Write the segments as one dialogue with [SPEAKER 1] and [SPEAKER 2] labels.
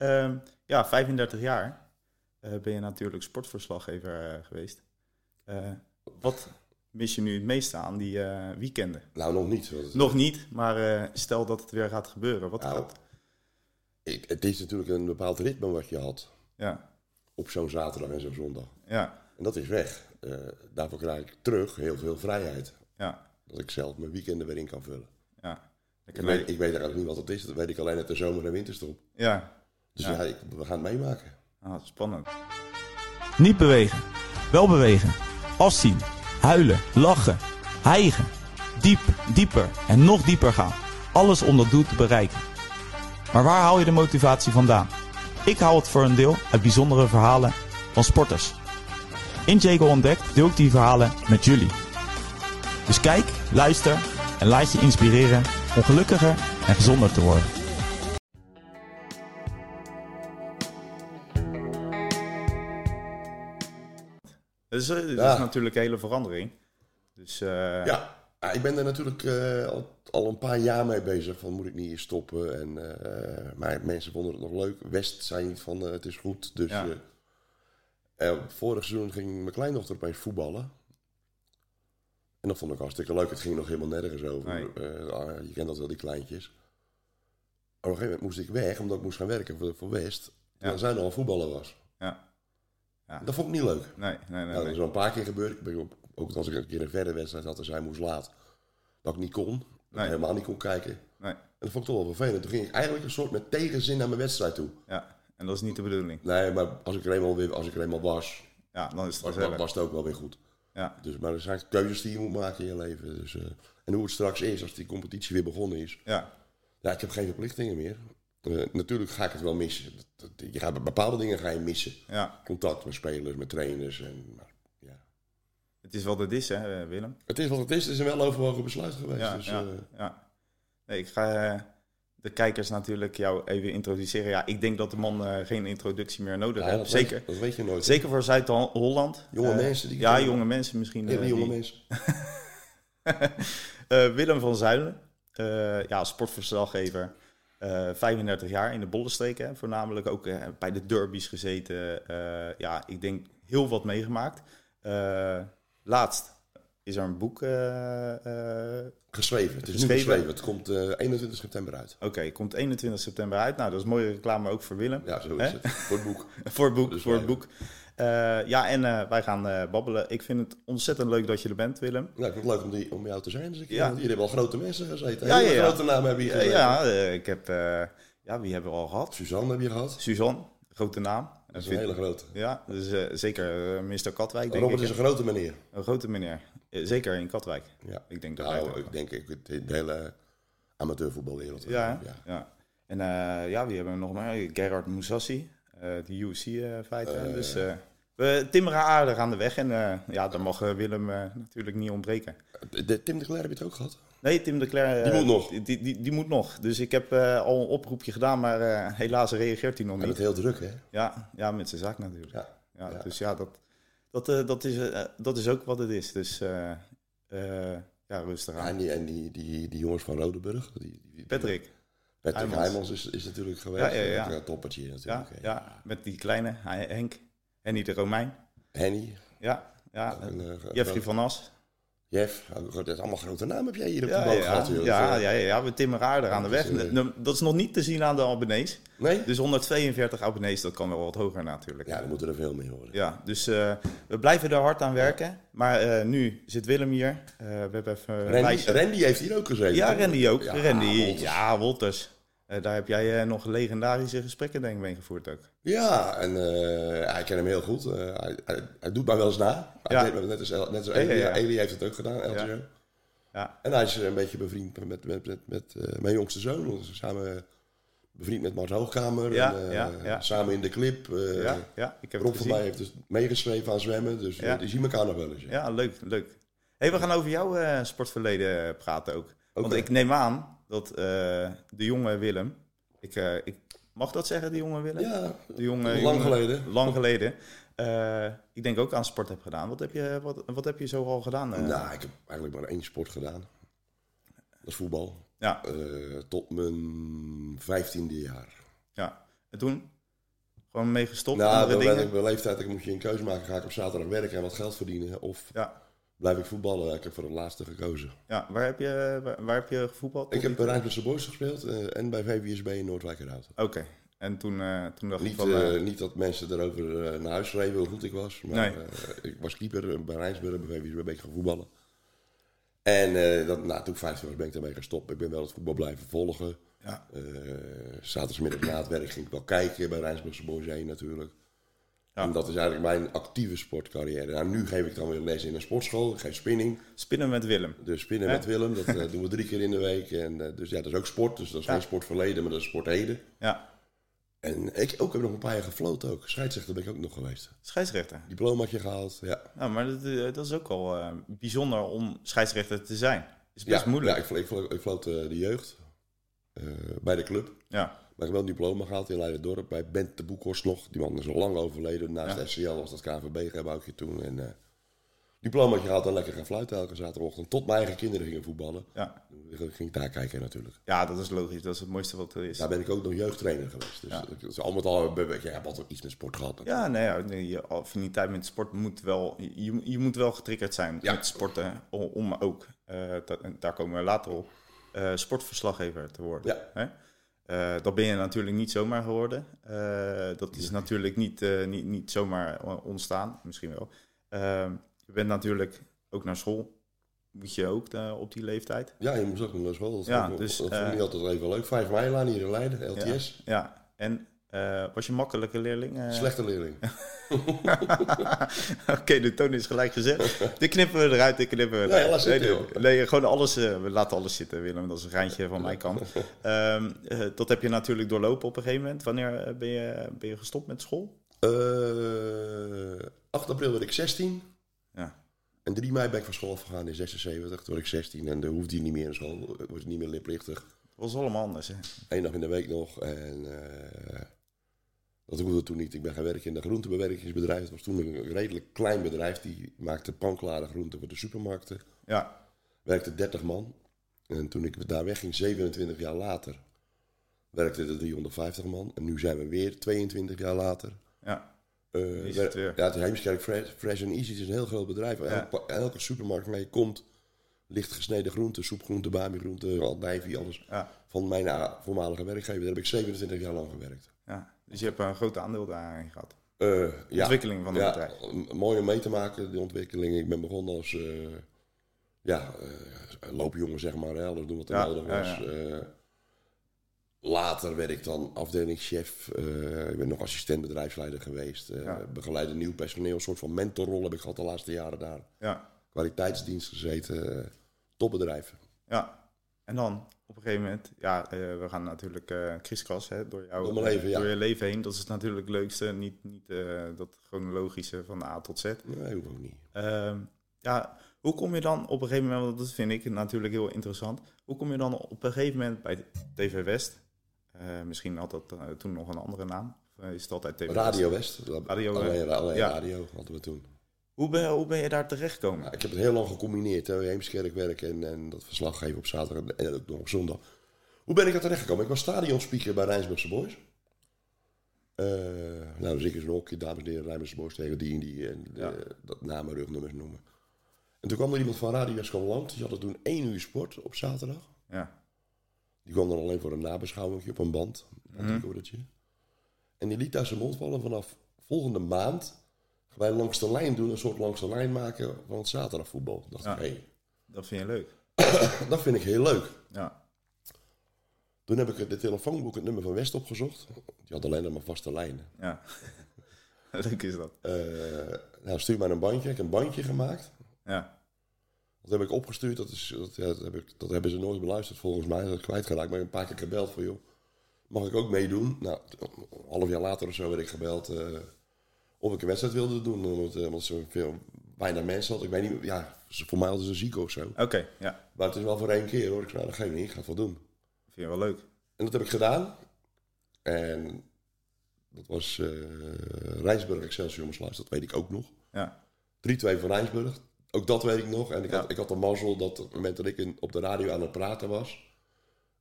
[SPEAKER 1] Ehm, ja, 35 jaar eh, ben je natuurlijk sportverslaggever eh, geweest. Eh, wat mis je nu het meeste aan die eh, weekenden?
[SPEAKER 2] Nou, nog niet. want het-
[SPEAKER 1] Nog niet, maar eh, stel dat het weer gaat gebeuren. Wat
[SPEAKER 2] Nou.
[SPEAKER 1] gaat...
[SPEAKER 2] Ik, het is natuurlijk een bepaald ritme wat je had
[SPEAKER 1] Ja,
[SPEAKER 2] op zo'n zaterdag en zo'n zondag.
[SPEAKER 1] ja,
[SPEAKER 2] En dat is weg. Eh, daarvoor krijg ik terug heel veel vrijheid.
[SPEAKER 1] ja,
[SPEAKER 2] Dat ik zelf mijn weekenden weer in kan vullen.
[SPEAKER 1] ja.
[SPEAKER 2] Ik
[SPEAKER 1] Lekker
[SPEAKER 2] weet, ik weet eigenlijk niet wat dat is. Dat weet ik alleen uit de zomer- en winterstop.
[SPEAKER 1] Ja,
[SPEAKER 2] Dus ja, ik, we gaan het meemaken.
[SPEAKER 1] ah, spannend.
[SPEAKER 3] Niet bewegen. Wel bewegen. Afzien. Huilen. Lachen. Hijgen. Diep, dieper en nog dieper gaan. Alles om dat doel te bereiken. Maar waar haal je de motivatie vandaan? Ik haal het voor een deel uit bijzondere verhalen van sporters. In Jago Ontdekt deel ik die verhalen met jullie. Dus kijk, luister en laat je inspireren om gelukkiger en gezonder te worden.
[SPEAKER 1] Het is, eh, het
[SPEAKER 2] Ja.
[SPEAKER 1] is natuurlijk een hele verandering. Dus eh,
[SPEAKER 2] Ja, ah, ik ben er natuurlijk eh, al, al een paar jaar mee bezig. Van moet ik niet hier stoppen? En, eh, maar mensen vonden het nog leuk. West zei niet van eh, het is goed. Dus
[SPEAKER 1] Ja.
[SPEAKER 2] eh, eh, vorig seizoen ging mijn kleindochter opeens voetballen. En dat vond ik hartstikke leuk. Het ging nog helemaal nergens over.
[SPEAKER 1] Nee.
[SPEAKER 2] Eh, ah, je kent dat wel, die kleintjes. Maar op een gegeven moment moest ik weg, omdat ik moest gaan werken voor, voor West.
[SPEAKER 1] Ja.
[SPEAKER 2] Terwijl zij nog aan voetballen was.
[SPEAKER 1] ja.
[SPEAKER 2] Dat vond ik niet leuk.
[SPEAKER 1] Nee, nee, nee.
[SPEAKER 2] Nou, dat
[SPEAKER 1] nee.
[SPEAKER 2] is wel een paar keer gebeurd. Ik ben op, ook als ik een keer een verre wedstrijd had en zij moest laat. Dat ik niet kon. Dat
[SPEAKER 1] Nee.
[SPEAKER 2] ik helemaal niet kon kijken. En
[SPEAKER 1] nee.
[SPEAKER 2] dat vond ik toch wel vervelend. Toen ging ik eigenlijk een soort met tegenzin naar mijn wedstrijd toe.
[SPEAKER 1] Ja, en dat is niet de bedoeling.
[SPEAKER 2] Nee, maar als ik er eenmaal, weer, als ik er eenmaal was,
[SPEAKER 1] Ja, dan is het
[SPEAKER 2] was,
[SPEAKER 1] gezellig.
[SPEAKER 2] was het ook wel weer goed.
[SPEAKER 1] Ja,
[SPEAKER 2] Dus, maar er zijn keuzes die je moet maken in je leven. Dus, eh, en hoe het straks is, als die competitie weer begonnen is.
[SPEAKER 1] ja,
[SPEAKER 2] Ja, ik heb geen verplichtingen meer. Eh, natuurlijk ga ik het wel missen. Dat- dat- Je gaat, bepaalde dingen ga je missen.
[SPEAKER 1] ja.
[SPEAKER 2] Contact met spelers, met trainers. En, maar, ja.
[SPEAKER 1] Het is wel de dis, hè, eh, Willem?
[SPEAKER 2] Het is wat het is. Het is een weloverwogen besluit geweest.
[SPEAKER 1] Ja,
[SPEAKER 2] dus,
[SPEAKER 1] ja,
[SPEAKER 2] eh,
[SPEAKER 1] ja. Nee, ik ga eh, de kijkers natuurlijk jou even introduceren. Ja, ik denk dat de man eh, geen introductie meer nodig
[SPEAKER 2] Ja,
[SPEAKER 1] heeft.
[SPEAKER 2] dat
[SPEAKER 1] Zeker.
[SPEAKER 2] Weet, dat weet je nooit.
[SPEAKER 1] Zeker voor Zuid-Holland.
[SPEAKER 2] Jonge
[SPEAKER 1] Eh,
[SPEAKER 2] mensen die-
[SPEAKER 1] ja, jonge mensen misschien. eh,
[SPEAKER 2] Hele jonge
[SPEAKER 1] die-
[SPEAKER 2] mensen.
[SPEAKER 1] Eh, Willem van Zuilen. eh, ja, sportverslaggever. eh 35 jaar in de Bollenstreek. Hè, voornamelijk ook eh, bij de derbies gezeten. Eh, ja, ik denk heel wat meegemaakt. Eh, laatst is er een boek. eh, eh,
[SPEAKER 2] Geschreven. Het is
[SPEAKER 1] Geschreven.
[SPEAKER 2] nu geschreven. Het komt eh, 21 september uit.
[SPEAKER 1] Oké, komt 21 september uit. Nou, dat is mooie reclame ook voor Willem.
[SPEAKER 2] Ja, zo
[SPEAKER 1] Hè?
[SPEAKER 2] is het. Voor het boek.
[SPEAKER 1] Voor het boek,
[SPEAKER 2] Dus
[SPEAKER 1] voor het
[SPEAKER 2] wij-
[SPEAKER 1] boek. Eh, ja, en eh, wij gaan eh, babbelen. Ik vind het ontzettend leuk dat je er bent, Willem.
[SPEAKER 2] Nou, ik vond het leuk om, die, om jou te zijn. Dus ik,
[SPEAKER 1] Ja.
[SPEAKER 2] ja. Jullie hebben al grote mensen gezeten.
[SPEAKER 1] Ja,
[SPEAKER 2] Ja,
[SPEAKER 1] ja, ja.
[SPEAKER 2] grote namen hebben hier
[SPEAKER 1] Eh,
[SPEAKER 2] gezeten.
[SPEAKER 1] ja, eh, ik heb... eh, ja, wie hebben we al gehad?
[SPEAKER 2] Suzanne heb je gehad.
[SPEAKER 1] Suzanne, grote naam.
[SPEAKER 2] Dat is een hele grote.
[SPEAKER 1] Ja, dus, eh, zeker eh Mr. Katwijk, denk
[SPEAKER 2] Robert
[SPEAKER 1] ik.
[SPEAKER 2] is een grote meneer.
[SPEAKER 1] Een grote meneer. Eh, zeker in Katwijk.
[SPEAKER 2] Ja.
[SPEAKER 1] Ik denk dat hij het
[SPEAKER 2] Nou,
[SPEAKER 1] ook
[SPEAKER 2] ik denk ik, het- de hele amateurvoetbalwereld. eh,
[SPEAKER 1] Ja, hè?
[SPEAKER 2] ja.
[SPEAKER 1] ja. En eh, ja, wie hebben we nog meer? Gerard Moussassi, eh die UFC-fighter. dus eh, we timmeren aardig aan de weg. En eh, ja, daar mag eh, Willem eh, natuurlijk niet ontbreken.
[SPEAKER 2] De- de- Tim de Cler heb je het ook gehad.
[SPEAKER 1] Nee, Tim de Cler. eh,
[SPEAKER 2] Die moet nog.
[SPEAKER 1] Die, die, die moet nog. Dus ik heb eh, al een oproepje gedaan, maar eh, helaas reageert hij nog
[SPEAKER 2] Hij
[SPEAKER 1] niet.
[SPEAKER 2] het heel druk, hè?
[SPEAKER 1] Ja, ja, met zijn zaak natuurlijk. Ja.
[SPEAKER 2] Ja. ja.
[SPEAKER 1] Dus ja, dat, dat, eh, dat, is, eh, dat is ook wat het is. Dus eh, eh, ja, rustig
[SPEAKER 2] Ja,
[SPEAKER 1] aan.
[SPEAKER 2] En, die, en die, die, die jongens van Rodenburg. Die, die,
[SPEAKER 1] Patrick,
[SPEAKER 2] Patrick
[SPEAKER 1] Heijmans.
[SPEAKER 2] Heijmans, is, is natuurlijk geweest.
[SPEAKER 1] Ja, ja, ja.
[SPEAKER 2] Een toppertje
[SPEAKER 1] ja,
[SPEAKER 2] natuurlijk. hè.
[SPEAKER 1] ja, met die kleine hij- Henk en niet de Romein.
[SPEAKER 2] Henny.
[SPEAKER 1] Ja, ja.
[SPEAKER 2] ook een, eh,
[SPEAKER 1] Jeffrey van As.
[SPEAKER 2] Jeff, oh, dat is allemaal grote naam heb jij hier op de
[SPEAKER 1] Ja,
[SPEAKER 2] boot
[SPEAKER 1] ja,
[SPEAKER 2] gehad. joh.
[SPEAKER 1] ja,
[SPEAKER 2] Dat, eh,
[SPEAKER 1] ja, ja, we timmeren aardig aan de weg.
[SPEAKER 2] Dat is, eh,
[SPEAKER 1] Nou, Dat is nog niet te zien aan de abonnees.
[SPEAKER 2] Nee?
[SPEAKER 1] Dus 142 abonnees, dat kan wel wat hoger natuurlijk.
[SPEAKER 2] Ja, dan moeten er veel mee horen.
[SPEAKER 1] Ja, dus eh, we blijven er hard aan werken. Maar eh, nu zit Willem hier. Eh, we hebben even een
[SPEAKER 2] Randy,
[SPEAKER 1] lijstje.
[SPEAKER 2] Randy heeft hier ook gezeten.
[SPEAKER 1] Ja,
[SPEAKER 2] toch?
[SPEAKER 1] Randy ook.
[SPEAKER 2] Ja, ah,
[SPEAKER 1] Randy,
[SPEAKER 2] Wolters. Ja,
[SPEAKER 1] ja, Wolters. Eh, daar heb jij eh, nog legendarische gesprekken denk ik mee gevoerd ook.
[SPEAKER 2] en eh, hij kent hem heel goed. Eh, hij, hij, hij doet mij wel eens na. Hij
[SPEAKER 1] Ja.
[SPEAKER 2] deed me net als, El- net als
[SPEAKER 1] Ja, ja,
[SPEAKER 2] Eli,
[SPEAKER 1] ja.
[SPEAKER 2] Eli heeft het ook gedaan, LTO.
[SPEAKER 1] Ja. Ja,
[SPEAKER 2] En hij is eh, een beetje bevriend met, met, met, met eh, mijn jongste zoon. We zijn Samen bevriend met Mart Hoogkamer.
[SPEAKER 1] Ja,
[SPEAKER 2] en, eh,
[SPEAKER 1] ja, ja.
[SPEAKER 2] Samen in de clip. eh,
[SPEAKER 1] ja, ja, ik heb het
[SPEAKER 2] Rob van
[SPEAKER 1] gezien.
[SPEAKER 2] mij heeft dus meegeschreven aan zwemmen. Dus
[SPEAKER 1] Ja.
[SPEAKER 2] eh, die zien elkaar nog wel eens. ja.
[SPEAKER 1] Ja, leuk, leuk. hey, we gaan over jouw eh, sportverleden eh, praten ook. Want
[SPEAKER 2] Oké.
[SPEAKER 1] ik neem aan dat eh, de jonge Willem... Ik, eh, ik, mag dat zeggen, de jonge Willem?
[SPEAKER 2] Ja,
[SPEAKER 1] De jonge,
[SPEAKER 2] lang
[SPEAKER 1] jonge-
[SPEAKER 2] geleden.
[SPEAKER 1] Lang geleden. Eh, ik denk ook aan sport heb gedaan. Wat heb je, wat, wat heb je zo al gedaan? eh?
[SPEAKER 2] Nou, ik heb eigenlijk maar één sport gedaan. Dat is voetbal.
[SPEAKER 1] Ja,
[SPEAKER 2] Eh, tot mijn vijftiende jaar.
[SPEAKER 1] ja. En toen gewoon mee gestopt.
[SPEAKER 2] Nou,
[SPEAKER 1] andere
[SPEAKER 2] bij
[SPEAKER 1] dingen.
[SPEAKER 2] mijn leeftijd ik moet je een keuze maken. Ga ik op zaterdag werken en wat geld verdienen? Of
[SPEAKER 1] Ja,
[SPEAKER 2] blijf ik voetballen? Ik heb voor het laatste gekozen.
[SPEAKER 1] ja. Waar, heb je, waar, waar heb je gevoetbald?
[SPEAKER 2] Ik heb bij Rijnlandse Boys gespeeld eh, en bij VWSB in Noordwijk eruit.
[SPEAKER 1] Oké. En toen, eh, toen dacht ik
[SPEAKER 2] Niet,
[SPEAKER 1] van... eh,
[SPEAKER 2] eh, niet dat mensen erover eh, naar huis schreven hoe goed ik was. Maar
[SPEAKER 1] Nee.
[SPEAKER 2] eh, ik was keeper eh, bij Rijnsburg, bij VWSB ben ik gaan voetballen. En eh, dat, nou, toen ik 15 was ben ik daarmee gestopt. Ik ben wel het voetbal blijven volgen.
[SPEAKER 1] ja.
[SPEAKER 2] Eh, zaterdagmiddag na het werk ging ik wel kijken bij Rijnsburgse Boys heen natuurlijk.
[SPEAKER 1] Ja.
[SPEAKER 2] En dat is eigenlijk mijn actieve sportcarrière. Nou, nu geef ik dan weer les in een sportschool. Ik geef spinning.
[SPEAKER 1] Spinnen met Willem.
[SPEAKER 2] Dus spinnen
[SPEAKER 1] Ja.
[SPEAKER 2] met Willem, dat eh, doen we drie keer in de week. En, eh, dus ja, dat is ook sport. Dus dat is
[SPEAKER 1] Ja.
[SPEAKER 2] geen sportverleden, maar dat is sportheden.
[SPEAKER 1] Ja.
[SPEAKER 2] En ik ook heb nog een paar jaar gefloten ook. Scheidsrechter ben ik ook nog geweest.
[SPEAKER 1] Scheidsrechter.
[SPEAKER 2] Diplomaatje gehaald, ja.
[SPEAKER 1] Nou, maar dat, eh, dat is ook wel eh, bijzonder om scheidsrechter te zijn. Is best
[SPEAKER 2] ja,
[SPEAKER 1] moeilijk.
[SPEAKER 2] Ja, ik, flo- ik, flo- ik floot eh, de jeugd eh, bij de club.
[SPEAKER 1] Ja.
[SPEAKER 2] Maar ik heb wel een diploma gehaald in Leiden-Dorp bij Bent de Boekhorst nog. Die man is al lang overleden. Naast
[SPEAKER 1] Ja.
[SPEAKER 2] SCL was dat KVB-gebouwtje toen. En eh diplomaatje gehaald en lekker gaan fluiten elke zaterdagochtend. Tot mijn eigen kinderen gingen voetballen.
[SPEAKER 1] Ja.
[SPEAKER 2] Ik ging daar kijken natuurlijk.
[SPEAKER 1] ja, dat is logisch. Dat is het mooiste wat er is.
[SPEAKER 2] Daar ben ik ook nog jeugdtrainer geweest. Dus
[SPEAKER 1] Ja.
[SPEAKER 2] dat is al met al, ben ik- ja, ik heb altijd iets met sport gehad.
[SPEAKER 1] Ja, nee, ja, nee, je affiniteit met sport moet wel... Je, je moet wel getriggerd zijn
[SPEAKER 2] Ja.
[SPEAKER 1] met sporten. Om, om ook, eh, da- en daar komen we later op, eh, sportverslaggever te worden.
[SPEAKER 2] Ja.
[SPEAKER 1] Hè? Eh, dat ben je natuurlijk niet zomaar geworden. Eh, dat is natuurlijk niet, eh, niet, niet zomaar o- ontstaan. Misschien wel. Ehm, je bent natuurlijk ook naar school. Moet je ook eh, op die leeftijd.
[SPEAKER 2] Ja, je moest ook nog naar school. Dat
[SPEAKER 1] Ja,
[SPEAKER 2] vond ik-
[SPEAKER 1] dus,
[SPEAKER 2] dat vond ik
[SPEAKER 1] eh,
[SPEAKER 2] niet altijd even leuk. 5 meilaan hier in Leiden, LTS.
[SPEAKER 1] Ja, en eh, was je een makkelijke leerling? Eh,
[SPEAKER 2] Slechte leerling.
[SPEAKER 1] Oké, de toon is gelijk gezet. Dit knippen we eruit, dit knippen we
[SPEAKER 2] Nee,
[SPEAKER 1] eruit.
[SPEAKER 2] laat zitten,
[SPEAKER 1] nee, nee, gewoon alles. eh, we laten alles zitten, Willem. Dat is een geintje van mijn kant. Ehm, eh, dat heb je natuurlijk doorlopen op een gegeven moment. Wanneer eh, ben je, ben je gestopt met school?
[SPEAKER 2] Eh, 8 april werd ik 16.
[SPEAKER 1] Ja.
[SPEAKER 2] En 3 mei ben ik van school afgegaan in 76. Toen werd ik 16 en dan hoefde je niet meer naar school. Ik was niet meer leerplichtig.
[SPEAKER 1] Dat was allemaal anders. Hè?
[SPEAKER 2] Eén dag in de week nog. En eh, dat hoefde toen niet. Ik ben gaan werken in een groentebewerkingsbedrijf. Het was toen een redelijk klein bedrijf. Die maakte panklare groenten voor de supermarkten.
[SPEAKER 1] Ja,
[SPEAKER 2] werkte 30 man. En toen ik daar wegging, 27 jaar later, werkte er 350 man. En nu zijn we weer 22 jaar later.
[SPEAKER 1] ja,
[SPEAKER 2] Eh,
[SPEAKER 1] is
[SPEAKER 2] wer-
[SPEAKER 1] het weer?
[SPEAKER 2] Ja, het is Heemskerk Fresh, Fresh and Easy. Het is een heel groot bedrijf. Elke, elke supermarkt waar je komt, licht gesneden groenten, soepgroenten, bamigroenten, andijvie, alles.
[SPEAKER 1] ja,
[SPEAKER 2] Van mijn ah, voormalige werkgever, daar heb ik 27 jaar lang gewerkt.
[SPEAKER 1] ja. Dus je hebt een groot aandeel daarin gehad.
[SPEAKER 2] Eh, ja.
[SPEAKER 1] Ontwikkeling van het
[SPEAKER 2] ja,
[SPEAKER 1] bedrijf.
[SPEAKER 2] m- Mooi om mee te maken, de ontwikkeling. Ik ben begonnen als eh, ja, eh, loopjongen, zeg maar. Hè, alles doen wat er
[SPEAKER 1] Ja,
[SPEAKER 2] nodig
[SPEAKER 1] ja,
[SPEAKER 2] was.
[SPEAKER 1] ja.
[SPEAKER 2] Eh, later werd ik dan afdelingschef. eh, ik ben nog assistent bedrijfsleider geweest. eh
[SPEAKER 1] Ja.
[SPEAKER 2] Begeleider nieuw personeel. Een soort van mentorrol heb ik gehad de laatste jaren daar.
[SPEAKER 1] Ja,
[SPEAKER 2] Kwaliteitsdienst gezeten. eh, topbedrijf.
[SPEAKER 1] ja. En dan op een gegeven moment, ja, eh, we gaan natuurlijk eh kriskras hè, door, jouw,
[SPEAKER 2] Door mijn leven, ja.
[SPEAKER 1] door je leven heen. Dat is natuurlijk het leukste. Niet, niet eh, dat chronologische van A tot Z.
[SPEAKER 2] Nee, hoeft ook niet.
[SPEAKER 1] Ehm, ja, hoe kom je dan op een gegeven moment, want dat vind ik natuurlijk heel interessant. Hoe kom je dan op een gegeven moment bij TV West? Eh, misschien had dat eh, toen nog een andere naam. Of eh, is het altijd TV West?
[SPEAKER 2] Radio West. dat-
[SPEAKER 1] Radio, eh,
[SPEAKER 2] alleen alleen
[SPEAKER 1] ja.
[SPEAKER 2] radio hadden we toen.
[SPEAKER 1] Hoe ben, hoe ben je daar terechtgekomen?
[SPEAKER 2] Ja, Nou, ik heb het heel lang gecombineerd. Hè. Heemskerk werk en, en dat verslag geven op zaterdag en ook nog op zondag. Hoe ben ik er terecht gekomen? Ik was stadionspeaker bij Rijnsburgse Boys. Eh, nou, dus ik is een hokje, dames en heren, Rijnsburgse Boys tegen die en die. En eh,
[SPEAKER 1] Ja.
[SPEAKER 2] dat namen, rugnummers noemen. En toen kwam er iemand van Radio West Land. Die hadden toen één uur sport op zaterdag.
[SPEAKER 1] Ja,
[SPEAKER 2] Die kwam dan alleen voor een nabeschouwing op een band. Een bandrecordertje. En die liet daar zijn mond vallen vanaf volgende maand. Gaan wij langs de lijn doen, een soort langs de lijn maken van het zaterdagvoetbal. Dacht
[SPEAKER 1] Ja.
[SPEAKER 2] ik, hé,
[SPEAKER 1] dat vind je leuk.
[SPEAKER 2] dat vind ik heel leuk.
[SPEAKER 1] Ja,
[SPEAKER 2] Toen heb ik het- de telefoonboek het nummer van West opgezocht. Die had alleen nog maar vaste lijnen.
[SPEAKER 1] ja. leuk is dat.
[SPEAKER 2] Eh, nou, stuur mij een bandje. Ik heb een bandje gemaakt.
[SPEAKER 1] Ja,
[SPEAKER 2] Dat heb ik opgestuurd. Dat, is, dat, ja, dat, heb ik, dat hebben ze nooit beluisterd volgens mij. Dat heb ik kwijtgeraakt. Maar ik heb een paar keer gebeld van, joh, mag ik ook meedoen? Nou, een half jaar later of zo werd ik gebeld eh, of ik een wedstrijd wilde doen. Omdat, eh, omdat ze veel, weinig mensen hadden. Ik weet niet, ja, ze- voor mij hadden ze ziek of zo.
[SPEAKER 1] oké. ja,
[SPEAKER 2] Maar het is wel voor één keer hoor. Ik zei, nou, dat geeft niet. Ik ga het wel doen.
[SPEAKER 1] vind je wel leuk.
[SPEAKER 2] En dat heb ik gedaan. En dat was eh Rijnsburg Excelsior Omsluis, dat weet ik ook nog. 3-2
[SPEAKER 1] Ja,
[SPEAKER 2] van Rijnsburg, ook dat weet ik nog. En ik,
[SPEAKER 1] Ja.
[SPEAKER 2] had, ik had de mazzel dat op het moment dat ik in- op de radio aan het praten was,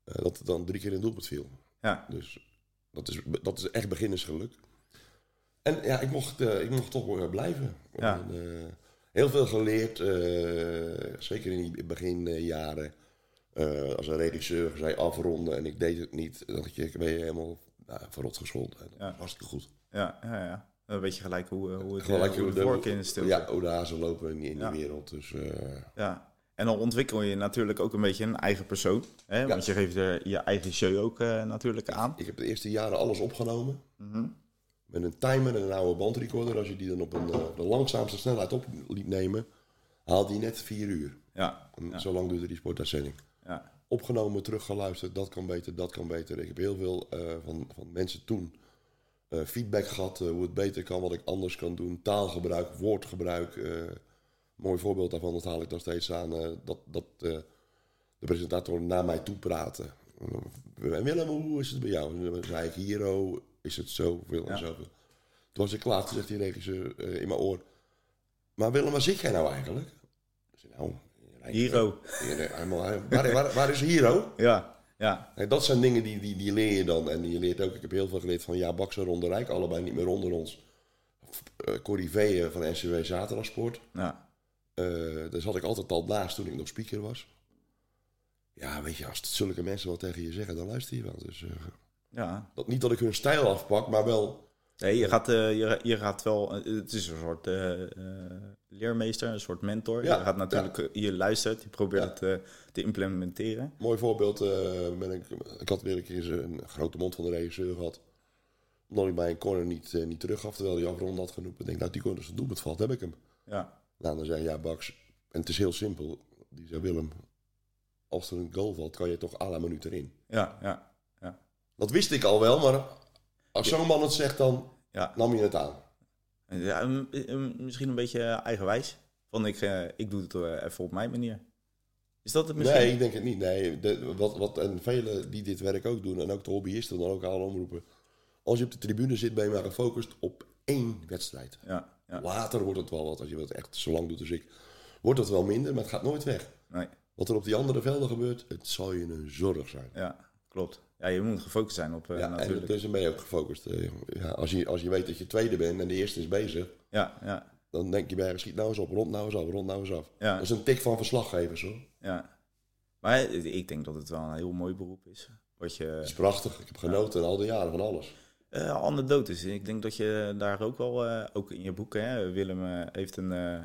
[SPEAKER 2] eh, dat het dan drie keer in het doelpunt viel.
[SPEAKER 1] ja.
[SPEAKER 2] Dus Dat is, dat is echt beginnersgeluk. En ja, ik mocht, eh, ik mocht toch eh, blijven.
[SPEAKER 1] Ja.
[SPEAKER 2] En, eh, heel veel geleerd, eh, zeker in die beginjaren. Eh, als een regisseur zei afronden en ik deed het niet, dan had je- ben je helemaal nou, verrot gescholden. En
[SPEAKER 1] Ja.
[SPEAKER 2] Dat was hartstikke goed.
[SPEAKER 1] Ja, ja, ja. Dan weet je gelijk hoe, eh, hoe het
[SPEAKER 2] Gelijk
[SPEAKER 1] eh, hoe
[SPEAKER 2] hoe
[SPEAKER 1] de
[SPEAKER 2] de-
[SPEAKER 1] vork in de stil
[SPEAKER 2] Ja, hoe de hazen lopen in die, in die
[SPEAKER 1] Ja.
[SPEAKER 2] wereld. Dus eh,
[SPEAKER 1] Ja. En dan ontwikkel je natuurlijk ook een beetje een eigen persoon. Hè? Want je geeft er je eigen show ook eh, natuurlijk aan.
[SPEAKER 2] ik heb de eerste jaren alles opgenomen. Met een timer en een oude bandrecorder. Als je die dan op een, eh, de langzaamste snelheid op liet nemen, haalde die net vier uur.
[SPEAKER 1] Ja,
[SPEAKER 2] En Zo lang duurde die sportuitzending.
[SPEAKER 1] ja,
[SPEAKER 2] opgenomen, teruggeluisterd. Dat kan beter, dat kan beter. Ik heb heel veel eh, van, van mensen toen eh, feedback gehad. eh, hoe het beter kan, wat ik anders kan doen. Taalgebruik, woordgebruik. eh, mooi voorbeeld daarvan, dat haal ik nog steeds aan. eh, dat dat eh, de presentator naar mij toe praatte. En Willem, hoe is het bij jou? En dan zei ik, hier, oh, is het zoveel en
[SPEAKER 1] Ja.
[SPEAKER 2] zoveel. Toen was ik klaar, toen zegt die regisseur eh, in mijn oor... Maar Willem, waar zit jij nou eigenlijk? Ik zei, nou...
[SPEAKER 1] Hero.
[SPEAKER 2] Ja, nee, eh, helemaal- Waar, waar, waar is Hero?
[SPEAKER 1] Ja, ja,
[SPEAKER 2] Kijk, dat zijn dingen die, die, die leer je dan. En je leert ook, ik heb heel veel geleerd van ja, Bakser Ronde Rijk, allebei niet meer onder ons. Eh, Corrie Veeën van NCW Zaterdagsport.
[SPEAKER 1] ja.
[SPEAKER 2] Eh, daar zat ik altijd al naast toen ik nog speaker was. Ja, weet je, als zulke mensen wat tegen je zeggen, dan luister je wel. Dus, eh,
[SPEAKER 1] ja.
[SPEAKER 2] dat, niet dat ik hun stijl afpak, maar wel...
[SPEAKER 1] Nee, je gaat, eh, je, je gaat wel... eh, Het is een soort eh, eh, leermeester, een soort mentor.
[SPEAKER 2] Ja,
[SPEAKER 1] je gaat natuurlijk... eh, Je luistert, je probeert het eh, te implementeren.
[SPEAKER 2] Mooi voorbeeld, eh, ben ik, ik had weer een keer een grote mond van de regisseur gehad. Omdat ik bij een corner niet, eh, niet teruggaf, terwijl hij afrond had genoemd. Ik denk, nou, die corner is een doelpunt valt, heb ik hem.
[SPEAKER 1] Ja,
[SPEAKER 2] Nou, dan zei hij, ja, Baks. En het is heel simpel. Die zei, Willem, als er een goal valt, kan je toch à la minuut erin.
[SPEAKER 1] ja, ja.
[SPEAKER 2] Dat wist ik al wel, maar als zo'n man het zegt, dan
[SPEAKER 1] Ja.
[SPEAKER 2] nam je het aan.
[SPEAKER 1] ja m- m- misschien een beetje eigenwijs. Van ik, eh, ik doe het eh, even op mijn manier. Is dat het misschien?
[SPEAKER 2] Nee, ik denk het niet. Nee, de- wat, wat, en velen die dit werk ook doen, en ook de hobbyisten, dan ook alle omroepen. Als je op de tribune zit, ben je maar gefocust op één wedstrijd.
[SPEAKER 1] Ja, ja.
[SPEAKER 2] Later wordt het wel wat, als je dat echt zo lang doet als ik. Wordt dat wel minder, maar het gaat nooit weg.
[SPEAKER 1] Nee.
[SPEAKER 2] Wat er op die andere velden gebeurt, het zal je een zorg zijn.
[SPEAKER 1] Ja, klopt. Ja, je moet gefocust zijn op eh,
[SPEAKER 2] Ja, en
[SPEAKER 1] natuurlijk.
[SPEAKER 2] dus ben je ook gefocust. eh, ja, als, je, als je weet dat je tweede bent en de eerste is bezig,
[SPEAKER 1] Ja, ja,
[SPEAKER 2] dan denk je bij schiet nou eens op, rond nou eens af, rond nou eens af.
[SPEAKER 1] Ja.
[SPEAKER 2] Dat is een tik van verslaggevers hoor.
[SPEAKER 1] ja. Maar ik denk dat het wel een heel mooi beroep is. Wat je
[SPEAKER 2] Dat is prachtig. Ik heb genoten al die jaren van alles.
[SPEAKER 1] eh anekdotes. Ik denk dat je daar ook wel, eh, ook in je boeken, hè, Willem eh, heeft een, eh, eh,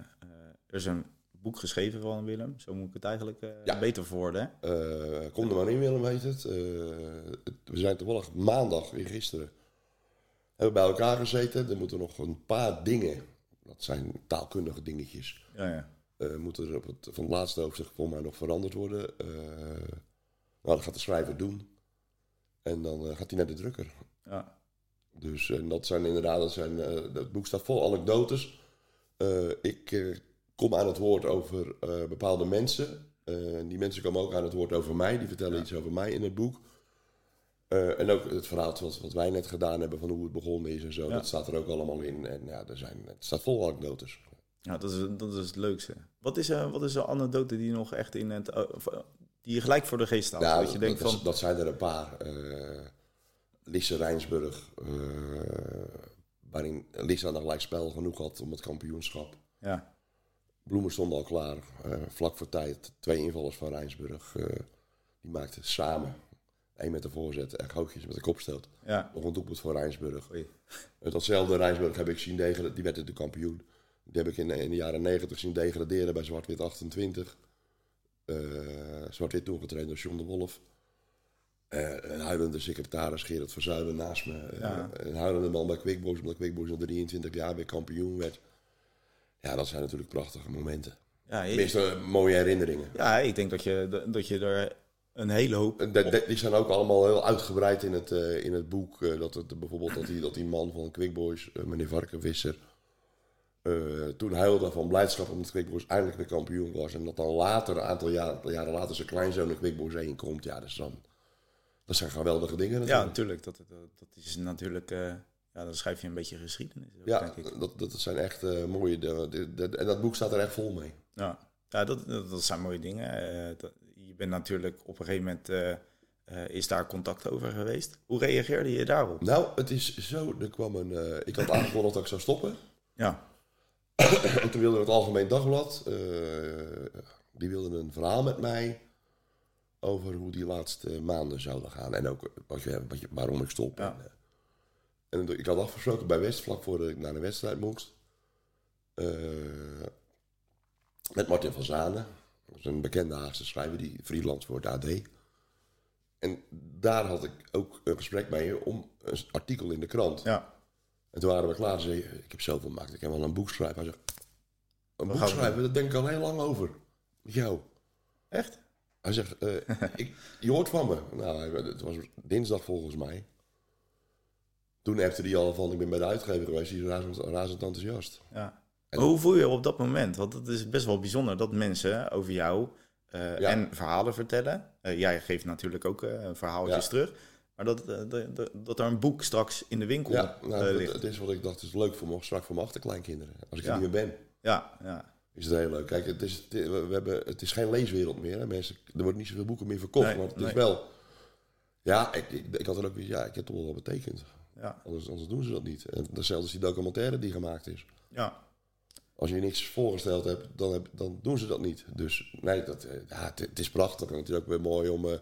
[SPEAKER 1] er is een boek geschreven van Willem. Zo moet ik het eigenlijk eh,
[SPEAKER 2] Ja.
[SPEAKER 1] beter verwoorden. hè?
[SPEAKER 2] Eh, kom er maar in Willem heet het. Eh, het- we zijn toevallig maandag, weer gisteren, hebben we bij elkaar gezeten. Er moeten nog een paar dingen, dat zijn taalkundige dingetjes,
[SPEAKER 1] Ja, ja.
[SPEAKER 2] eh moet er op het, van het laatste hoofdstuk voor mij nog veranderd worden. Eh, nou, dat gaat de schrijver doen. En dan eh, gaat hij naar de drukker.
[SPEAKER 1] Ja.
[SPEAKER 2] Dus en dat zijn inderdaad, dat zijn, eh, het boek staat vol anekdotes. Eh, ik eh, kom aan het woord over eh, bepaalde mensen. Eh, en die mensen komen ook aan het woord over mij. Die vertellen iets over mij in het boek. Eh, en ook het verhaal wat, wat wij net gedaan hebben van hoe het begonnen is en zo. Dat staat er ook allemaal in. En ja, er zijn, het staat vol anekdotes.
[SPEAKER 1] Ja, dat is, dat is het leukste. Wat is, eh wat is een anekdote die nog echt in het... eh, of, eh, die je gelijk voor de geest staat?
[SPEAKER 2] Ja,
[SPEAKER 1] dat je denkt
[SPEAKER 2] Nou, dat,
[SPEAKER 1] van...
[SPEAKER 2] dat zijn er een paar. eh Lisse Rijnsburg, eh, waarin Lisse nog gelijk spel genoeg had om het kampioenschap.
[SPEAKER 1] Ja,
[SPEAKER 2] Bloemen stonden al klaar, eh, vlak voor tijd. Twee invallers van Rijnsburg, eh, die maakten samen. Eén met de voorzet en Gootjes met de kopstoot.
[SPEAKER 1] ja.
[SPEAKER 2] Nog een doelpunt voor Rijnsburg.
[SPEAKER 1] Oei.
[SPEAKER 2] Eh, Datzelfde Rijnsburg heb ik zien degraderen, die werd natuurlijk kampioen. Die heb ik in, in de jaren 90 zien degraderen bij Zwart-Wit 28. Eh, Zwart-Wit toen getraind door John de Wolf. Eh, een huilende secretaris, Gerard Verzuilen, naast me. Eh,
[SPEAKER 1] Ja.
[SPEAKER 2] een huilende man bij Quickboys, omdat Quickboys na 23 jaar weer kampioen werd. Ja, dat zijn natuurlijk prachtige momenten.
[SPEAKER 1] ja je-
[SPEAKER 2] Tenminste, eh, mooie herinneringen.
[SPEAKER 1] Ja, ik denk dat je, dat je er een hele hoop.
[SPEAKER 2] En dat- dat- die zijn ook allemaal heel uitgebreid in het, eh, in het boek. eh, dat het, bijvoorbeeld dat die, dat die man van Quick Boys, eh, meneer Varkenvisser, eh, toen huilde van blijdschap omdat Quick Boys eindelijk weer kampioen was. En dat dan later, een aantal jaren, jaren later, zijn kleinzoon in Quick Boys 1 komt. Ja, dat, is dan, dat zijn geweldige dingen
[SPEAKER 1] Ja,
[SPEAKER 2] natuurlijk.
[SPEAKER 1] natuurlijk. Dat, dat, dat is natuurlijk. eh, ja, dan schrijf je een beetje geschiedenis. ook,
[SPEAKER 2] Ja,
[SPEAKER 1] denk ik.
[SPEAKER 2] dat, dat zijn echt eh, mooie dingen. Dit- dit- En dat boek staat er echt vol mee.
[SPEAKER 1] Ja, ja dat, dat, dat zijn mooie dingen. Eh, dat- je bent natuurlijk op een gegeven moment. eh, Eh, is daar contact over geweest? Hoe reageerde je daarop?
[SPEAKER 2] Nou, het is zo, er kwam een... eh, ik had aangekondigd dat ik zou stoppen.
[SPEAKER 1] Ja,
[SPEAKER 2] En toen wilde het Algemeen Dagblad, eh, die wilde een verhaal met mij over hoe die laatste maanden zouden gaan. En ook wat je, wat je, waarom ik stop.
[SPEAKER 1] Ja.
[SPEAKER 2] En, eh, en ik had afgesproken bij West, vlak voordat ik naar de wedstrijd moest. eh, met Martin van Zanen. Dat is een bekende Haagse schrijver, die freelance voor het AD. En daar had ik ook een gesprek mee om een artikel in de krant.
[SPEAKER 1] ja.
[SPEAKER 2] En toen waren we klaar. Ze zei, ik heb zoveel gemaakt. Ik heb wel een boek schrijven. Hij zei, een boek
[SPEAKER 1] gaan we
[SPEAKER 2] schrijven? Daar denk ik al heel lang over. Met jou.
[SPEAKER 1] Echt?
[SPEAKER 2] Hij zegt, eh, ik, je hoort van me. Nou, hij- het was dinsdag volgens mij. Toen appte hij al van, ik ben bij de uitgever geweest. Die is razend, razend enthousiast.
[SPEAKER 1] Ja. Maar hoe voel je je op dat moment? Want het is best wel bijzonder dat mensen over jou eh,
[SPEAKER 2] Ja.
[SPEAKER 1] en verhalen vertellen. Eh, jij geeft natuurlijk ook eh, verhaaltjes
[SPEAKER 2] Ja.
[SPEAKER 1] terug. Maar dat, eh, dat, dat- dat er een boek straks in de winkel
[SPEAKER 2] Ja,
[SPEAKER 1] eh,
[SPEAKER 2] nou, het,
[SPEAKER 1] ligt.
[SPEAKER 2] het is wat ik dacht, het is leuk voor me, straks voor mijn achterkleinkinderen. Als ik
[SPEAKER 1] Ja.
[SPEAKER 2] er niet meer ben,
[SPEAKER 1] Ja, ja.
[SPEAKER 2] is het heel leuk. Kijk, het is, het- we we hebben, het is geen leeswereld meer. Hè. Mensen, er wordt niet zoveel boeken meer verkocht,
[SPEAKER 1] Nee,
[SPEAKER 2] maar het is
[SPEAKER 1] nee.
[SPEAKER 2] wel... Ja, ik, ik, ik had er ook weer, ja, ik heb toch wel wat betekend.
[SPEAKER 1] ja,
[SPEAKER 2] Anders, anders doen ze dat niet. En datzelfde als die documentaire die gemaakt is.
[SPEAKER 1] ja.
[SPEAKER 2] Als je niks voorgesteld hebt, dan, heb, dan doen ze dat niet. Dus nee, dat, eh, ja, het, het is prachtig. En het is ook weer mooi om eh,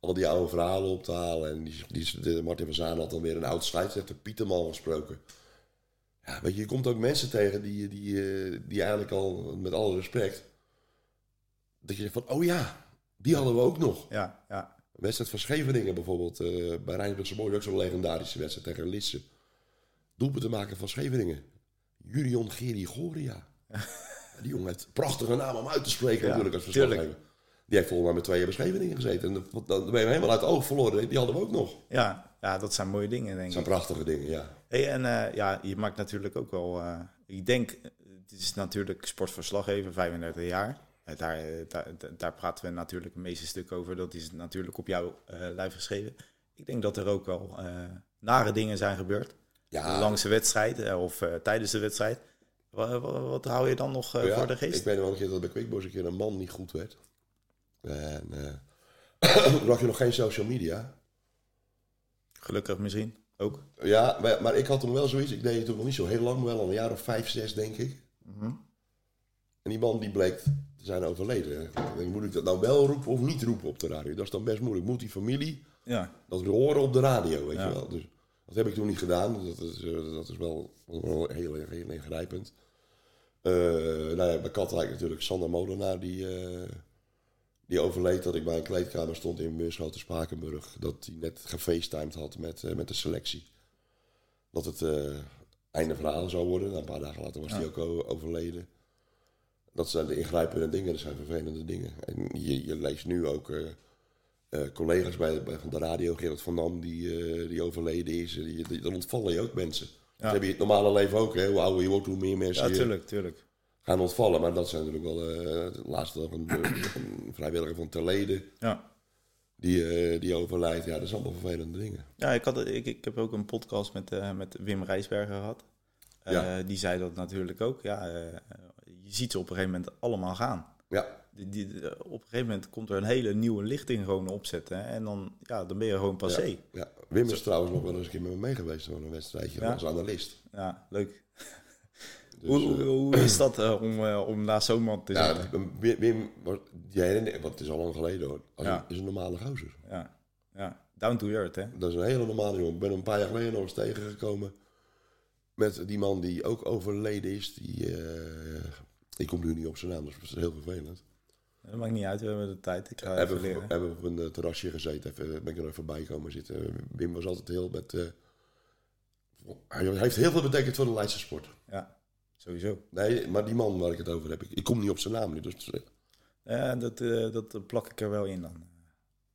[SPEAKER 2] al die oude verhalen op te halen. En die, die, de Martin van Zaan had dan weer een oud scheidsrechter, Pieterman, gesproken. Ja, weet je, je komt ook mensen tegen die, die, eh, die eigenlijk al, met alle respect... Dat je zegt van, oh ja, die hadden we ook nog.
[SPEAKER 1] ja, ja.
[SPEAKER 2] Een wedstrijd van Scheveningen bijvoorbeeld. eh, bij Rijnsburgse Boys ook zo'n legendarische wedstrijd tegen Lisse. Doelpunt te maken van Scheveningen. Jurion Gerigoria. Die jongen heeft een prachtige naam om uit te spreken
[SPEAKER 1] Ja,
[SPEAKER 2] natuurlijk als
[SPEAKER 1] tuurlijk.
[SPEAKER 2] verslaggever. Die heeft volgens mij met twee jaar bij Scheveningen gezeten. En dan- dan ben je hem helemaal uit het oog verloren. Die hadden we ook nog.
[SPEAKER 1] Ja, ja, dat zijn mooie dingen, denk
[SPEAKER 2] Dat
[SPEAKER 1] ik.
[SPEAKER 2] zijn prachtige dingen, ja.
[SPEAKER 1] Hey, en eh, ja, je maakt natuurlijk ook wel. eh, ik denk, eh, het is natuurlijk sportverslaggever, 35 jaar. Eh, daar, eh, daar, daar- daar praten we natuurlijk het meeste stuk over. Dat is natuurlijk op jouw eh, lijf geschreven. Ik denk dat er ook wel eh, nare dingen zijn gebeurd.
[SPEAKER 2] Ja,
[SPEAKER 1] Langs de wedstrijd eh, of eh, tijdens de wedstrijd. Wa- wa- Wat, hou je dan nog eh,
[SPEAKER 2] Ja,
[SPEAKER 1] voor de geest?
[SPEAKER 2] Ik weet nog wel een keer dat bij Quickboys een keer een man niet goed werd. En eh, toen had je nog geen social media.
[SPEAKER 1] Gelukkig misschien ook.
[SPEAKER 2] Ja, maar, maar ik had toen wel zoiets. Ik deed het toen nog niet zo heel lang, maar wel al een jaar of vijf, zes, denk ik. En die man die bleek te zijn overleden. Ik denk, moet ik dat nou wel roepen of niet roepen op de radio? Dat is dan best moeilijk. Moet die familie
[SPEAKER 1] Ja,
[SPEAKER 2] dat horen op de radio, weet
[SPEAKER 1] Ja.
[SPEAKER 2] je wel? Dus dat heb ik toen niet gedaan. Dat is, eh, dat is wel, wel heel, heel ingrijpend. Eh nou ja, bij Katwijk natuurlijk Sander Molenaar, die, eh, die overleed dat ik bij een kleedkamer stond in Meerschoten Spakenburg. Dat hij net gefacetimed had met, eh, met de selectie. Dat het eh, einde verhaal zou worden. Nou, een paar dagen later was hij ook o- overleden. Dat zijn de ingrijpende dingen, dat zijn vervelende dingen. En je, je leest nu ook eh, eh, collega's bij, bij van de radio, Gerard van Dam, die, eh, die overleden is. En Die, die- dan ontvallen je ook mensen. Dat heb je in het normale leven ook. Hè? Hoe ouder je wordt, hoe meer mensen
[SPEAKER 1] ja
[SPEAKER 2] je
[SPEAKER 1] tuurlijk, tuurlijk.
[SPEAKER 2] gaan ontvallen. Maar dat zijn natuurlijk wel eh de laatste dag een, een vrijwilliger van Terleden
[SPEAKER 1] Ja.
[SPEAKER 2] die, eh, die overlijdt. Ja, dat zijn allemaal vervelende dingen.
[SPEAKER 1] Ja, ik, had, ik, ik heb ook een podcast met, eh, met Wim Rijsberger gehad. Eh,
[SPEAKER 2] Ja.
[SPEAKER 1] Die zei dat natuurlijk ook. Ja, eh, je ziet ze op een gegeven moment allemaal gaan.
[SPEAKER 2] Ja,
[SPEAKER 1] Die, die, eh, op een gegeven moment komt er een hele nieuwe lichting gewoon opzetten. hè. En dan, ja, dan ben je gewoon passé. Ja,
[SPEAKER 2] ja. Wim is trouwens nog wel eens een keer met me mee geweest voor een wedstrijdje
[SPEAKER 1] Ja.
[SPEAKER 2] als analist.
[SPEAKER 1] leuk.
[SPEAKER 2] Dus,
[SPEAKER 1] hoe,
[SPEAKER 2] eh,
[SPEAKER 1] hoe, hoe is dat eh, om, eh, om naast zo'n man te zitten?
[SPEAKER 2] ja, Wim, Wim was, die herinner- want het is al lang geleden hoor, als
[SPEAKER 1] Ja.
[SPEAKER 2] een- is een normale gozer.
[SPEAKER 1] Ja. Ja. Down to earth, hè?
[SPEAKER 2] Dat is een hele normale jongen. Ik ben hem een paar jaar geleden nog eens tegengekomen. Met die man die ook overleden is. Die, eh, ik kom nu niet op zijn naam, dus dat is heel vervelend.
[SPEAKER 1] Dat maakt niet uit, we hebben de tijd. Ik ga even
[SPEAKER 2] hebben, we
[SPEAKER 1] leren.
[SPEAKER 2] hebben op een eh, terrasje gezeten. Even, eh, ben ik er even bij komen zitten. Wim was altijd heel met... eh, hij heeft heel veel betekend voor de Leidse sport.
[SPEAKER 1] Ja, sowieso.
[SPEAKER 2] Nee, maar die man waar ik het over heb. Ik, ik kom niet op zijn naam nu. Dus, eh,
[SPEAKER 1] Ja, dat, eh, dat plak ik er wel in dan.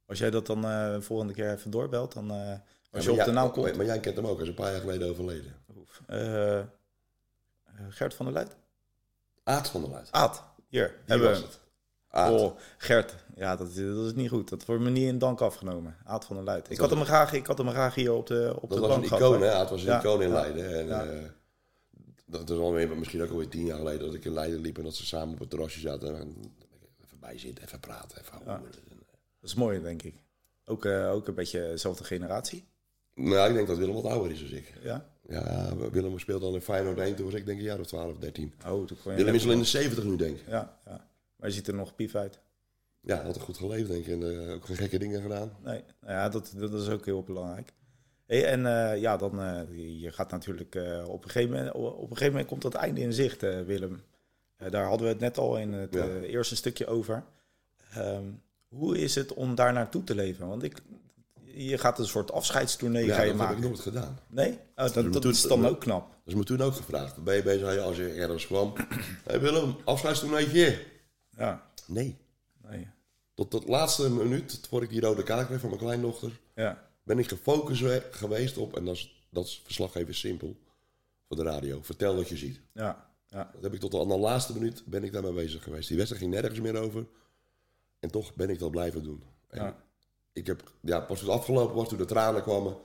[SPEAKER 1] Als jij dat dan eh, volgende keer even doorbelt, dan eh, als je
[SPEAKER 2] maar
[SPEAKER 1] op de
[SPEAKER 2] jij-
[SPEAKER 1] naam komt.
[SPEAKER 2] Maar, jij kent hem ook. Hij is een paar jaar geleden overleden.
[SPEAKER 1] Eh, eh, Gert van der Luit?
[SPEAKER 2] Aad van der Luid.
[SPEAKER 1] Aad, hier.
[SPEAKER 2] Die
[SPEAKER 1] hebben
[SPEAKER 2] was
[SPEAKER 1] we.
[SPEAKER 2] het. Aad.
[SPEAKER 1] Oh, Gert. Ja, dat, is- dat is niet goed. Dat wordt me niet in dank afgenomen. Aad van der Luit. Ik
[SPEAKER 2] was-
[SPEAKER 1] had hem graag, ik had hem graag hier op de, op
[SPEAKER 2] Dat
[SPEAKER 1] de
[SPEAKER 2] was
[SPEAKER 1] bank
[SPEAKER 2] een
[SPEAKER 1] gehad,
[SPEAKER 2] icoon,
[SPEAKER 1] maar-
[SPEAKER 2] hè? Het was een
[SPEAKER 1] Ja,
[SPEAKER 2] icoon in
[SPEAKER 1] ja,
[SPEAKER 2] Leiden. En,
[SPEAKER 1] ja.
[SPEAKER 2] eh, dat is alweer, misschien ook alweer tien jaar geleden dat ik in Leiden liep en dat ze samen op het terrasje zaten. En, even bij zitten, even praten, even houden.
[SPEAKER 1] Dat is mooi, denk ik. Ook, eh, ook een beetje dezelfde generatie.
[SPEAKER 2] Nou, ik denk dat Willem wat ouder is dan ik.
[SPEAKER 1] Ja.
[SPEAKER 2] Ja, Willem speelde al in Feyenoord 1, toen was ik denk een jaar of 12, 13.
[SPEAKER 1] Oh, toen kon je
[SPEAKER 2] Willem is al in de 70 nu, denk ik.
[SPEAKER 1] Ja, ja. Maar je ziet er nog pief uit.
[SPEAKER 2] Ja, altijd goed geleefd, denk ik. En eh, ook geen gekke dingen gedaan.
[SPEAKER 1] Nee, nou ja, dat, dat is ook heel belangrijk. Hey, en eh, ja, dan, eh, je gaat natuurlijk eh, op, een gegeven moment, op een gegeven moment komt dat einde in zicht, eh, Willem. Eh, daar hadden we het net al in het
[SPEAKER 2] Ja.
[SPEAKER 1] eh, eerste stukje over. Ehm, hoe is het om daar naartoe te leven? Want ik, je gaat een soort afscheidstournee
[SPEAKER 2] ja,
[SPEAKER 1] ga je
[SPEAKER 2] dat heb
[SPEAKER 1] maken.
[SPEAKER 2] ik nooit gedaan.
[SPEAKER 1] Nee? Oh, dat, dat
[SPEAKER 2] Toen-
[SPEAKER 1] is dan ook knap.
[SPEAKER 2] Dat is me toen ook gevraagd. Ben je bezig als je ergens kwam? hey Willem, afscheidstoernootje.
[SPEAKER 1] Ja,
[SPEAKER 2] Nee.
[SPEAKER 1] nee.
[SPEAKER 2] Tot dat laatste minuut, voor ik die rode kaart kreeg van mijn kleindochter,
[SPEAKER 1] Ja,
[SPEAKER 2] ben ik gefocust we- geweest op, en dat is, dat is verslag even simpel, voor de radio. Vertel wat je ziet.
[SPEAKER 1] ja, ja.
[SPEAKER 2] Dat heb ik tot de allerlaatste minuut ben ik daarmee bezig geweest. Die wedstrijd ging nergens meer over. En toch ben ik dat blijven doen. En
[SPEAKER 1] Ja.
[SPEAKER 2] Ik heb, ja, pas toen het afgelopen was, toen de tranen kwamen,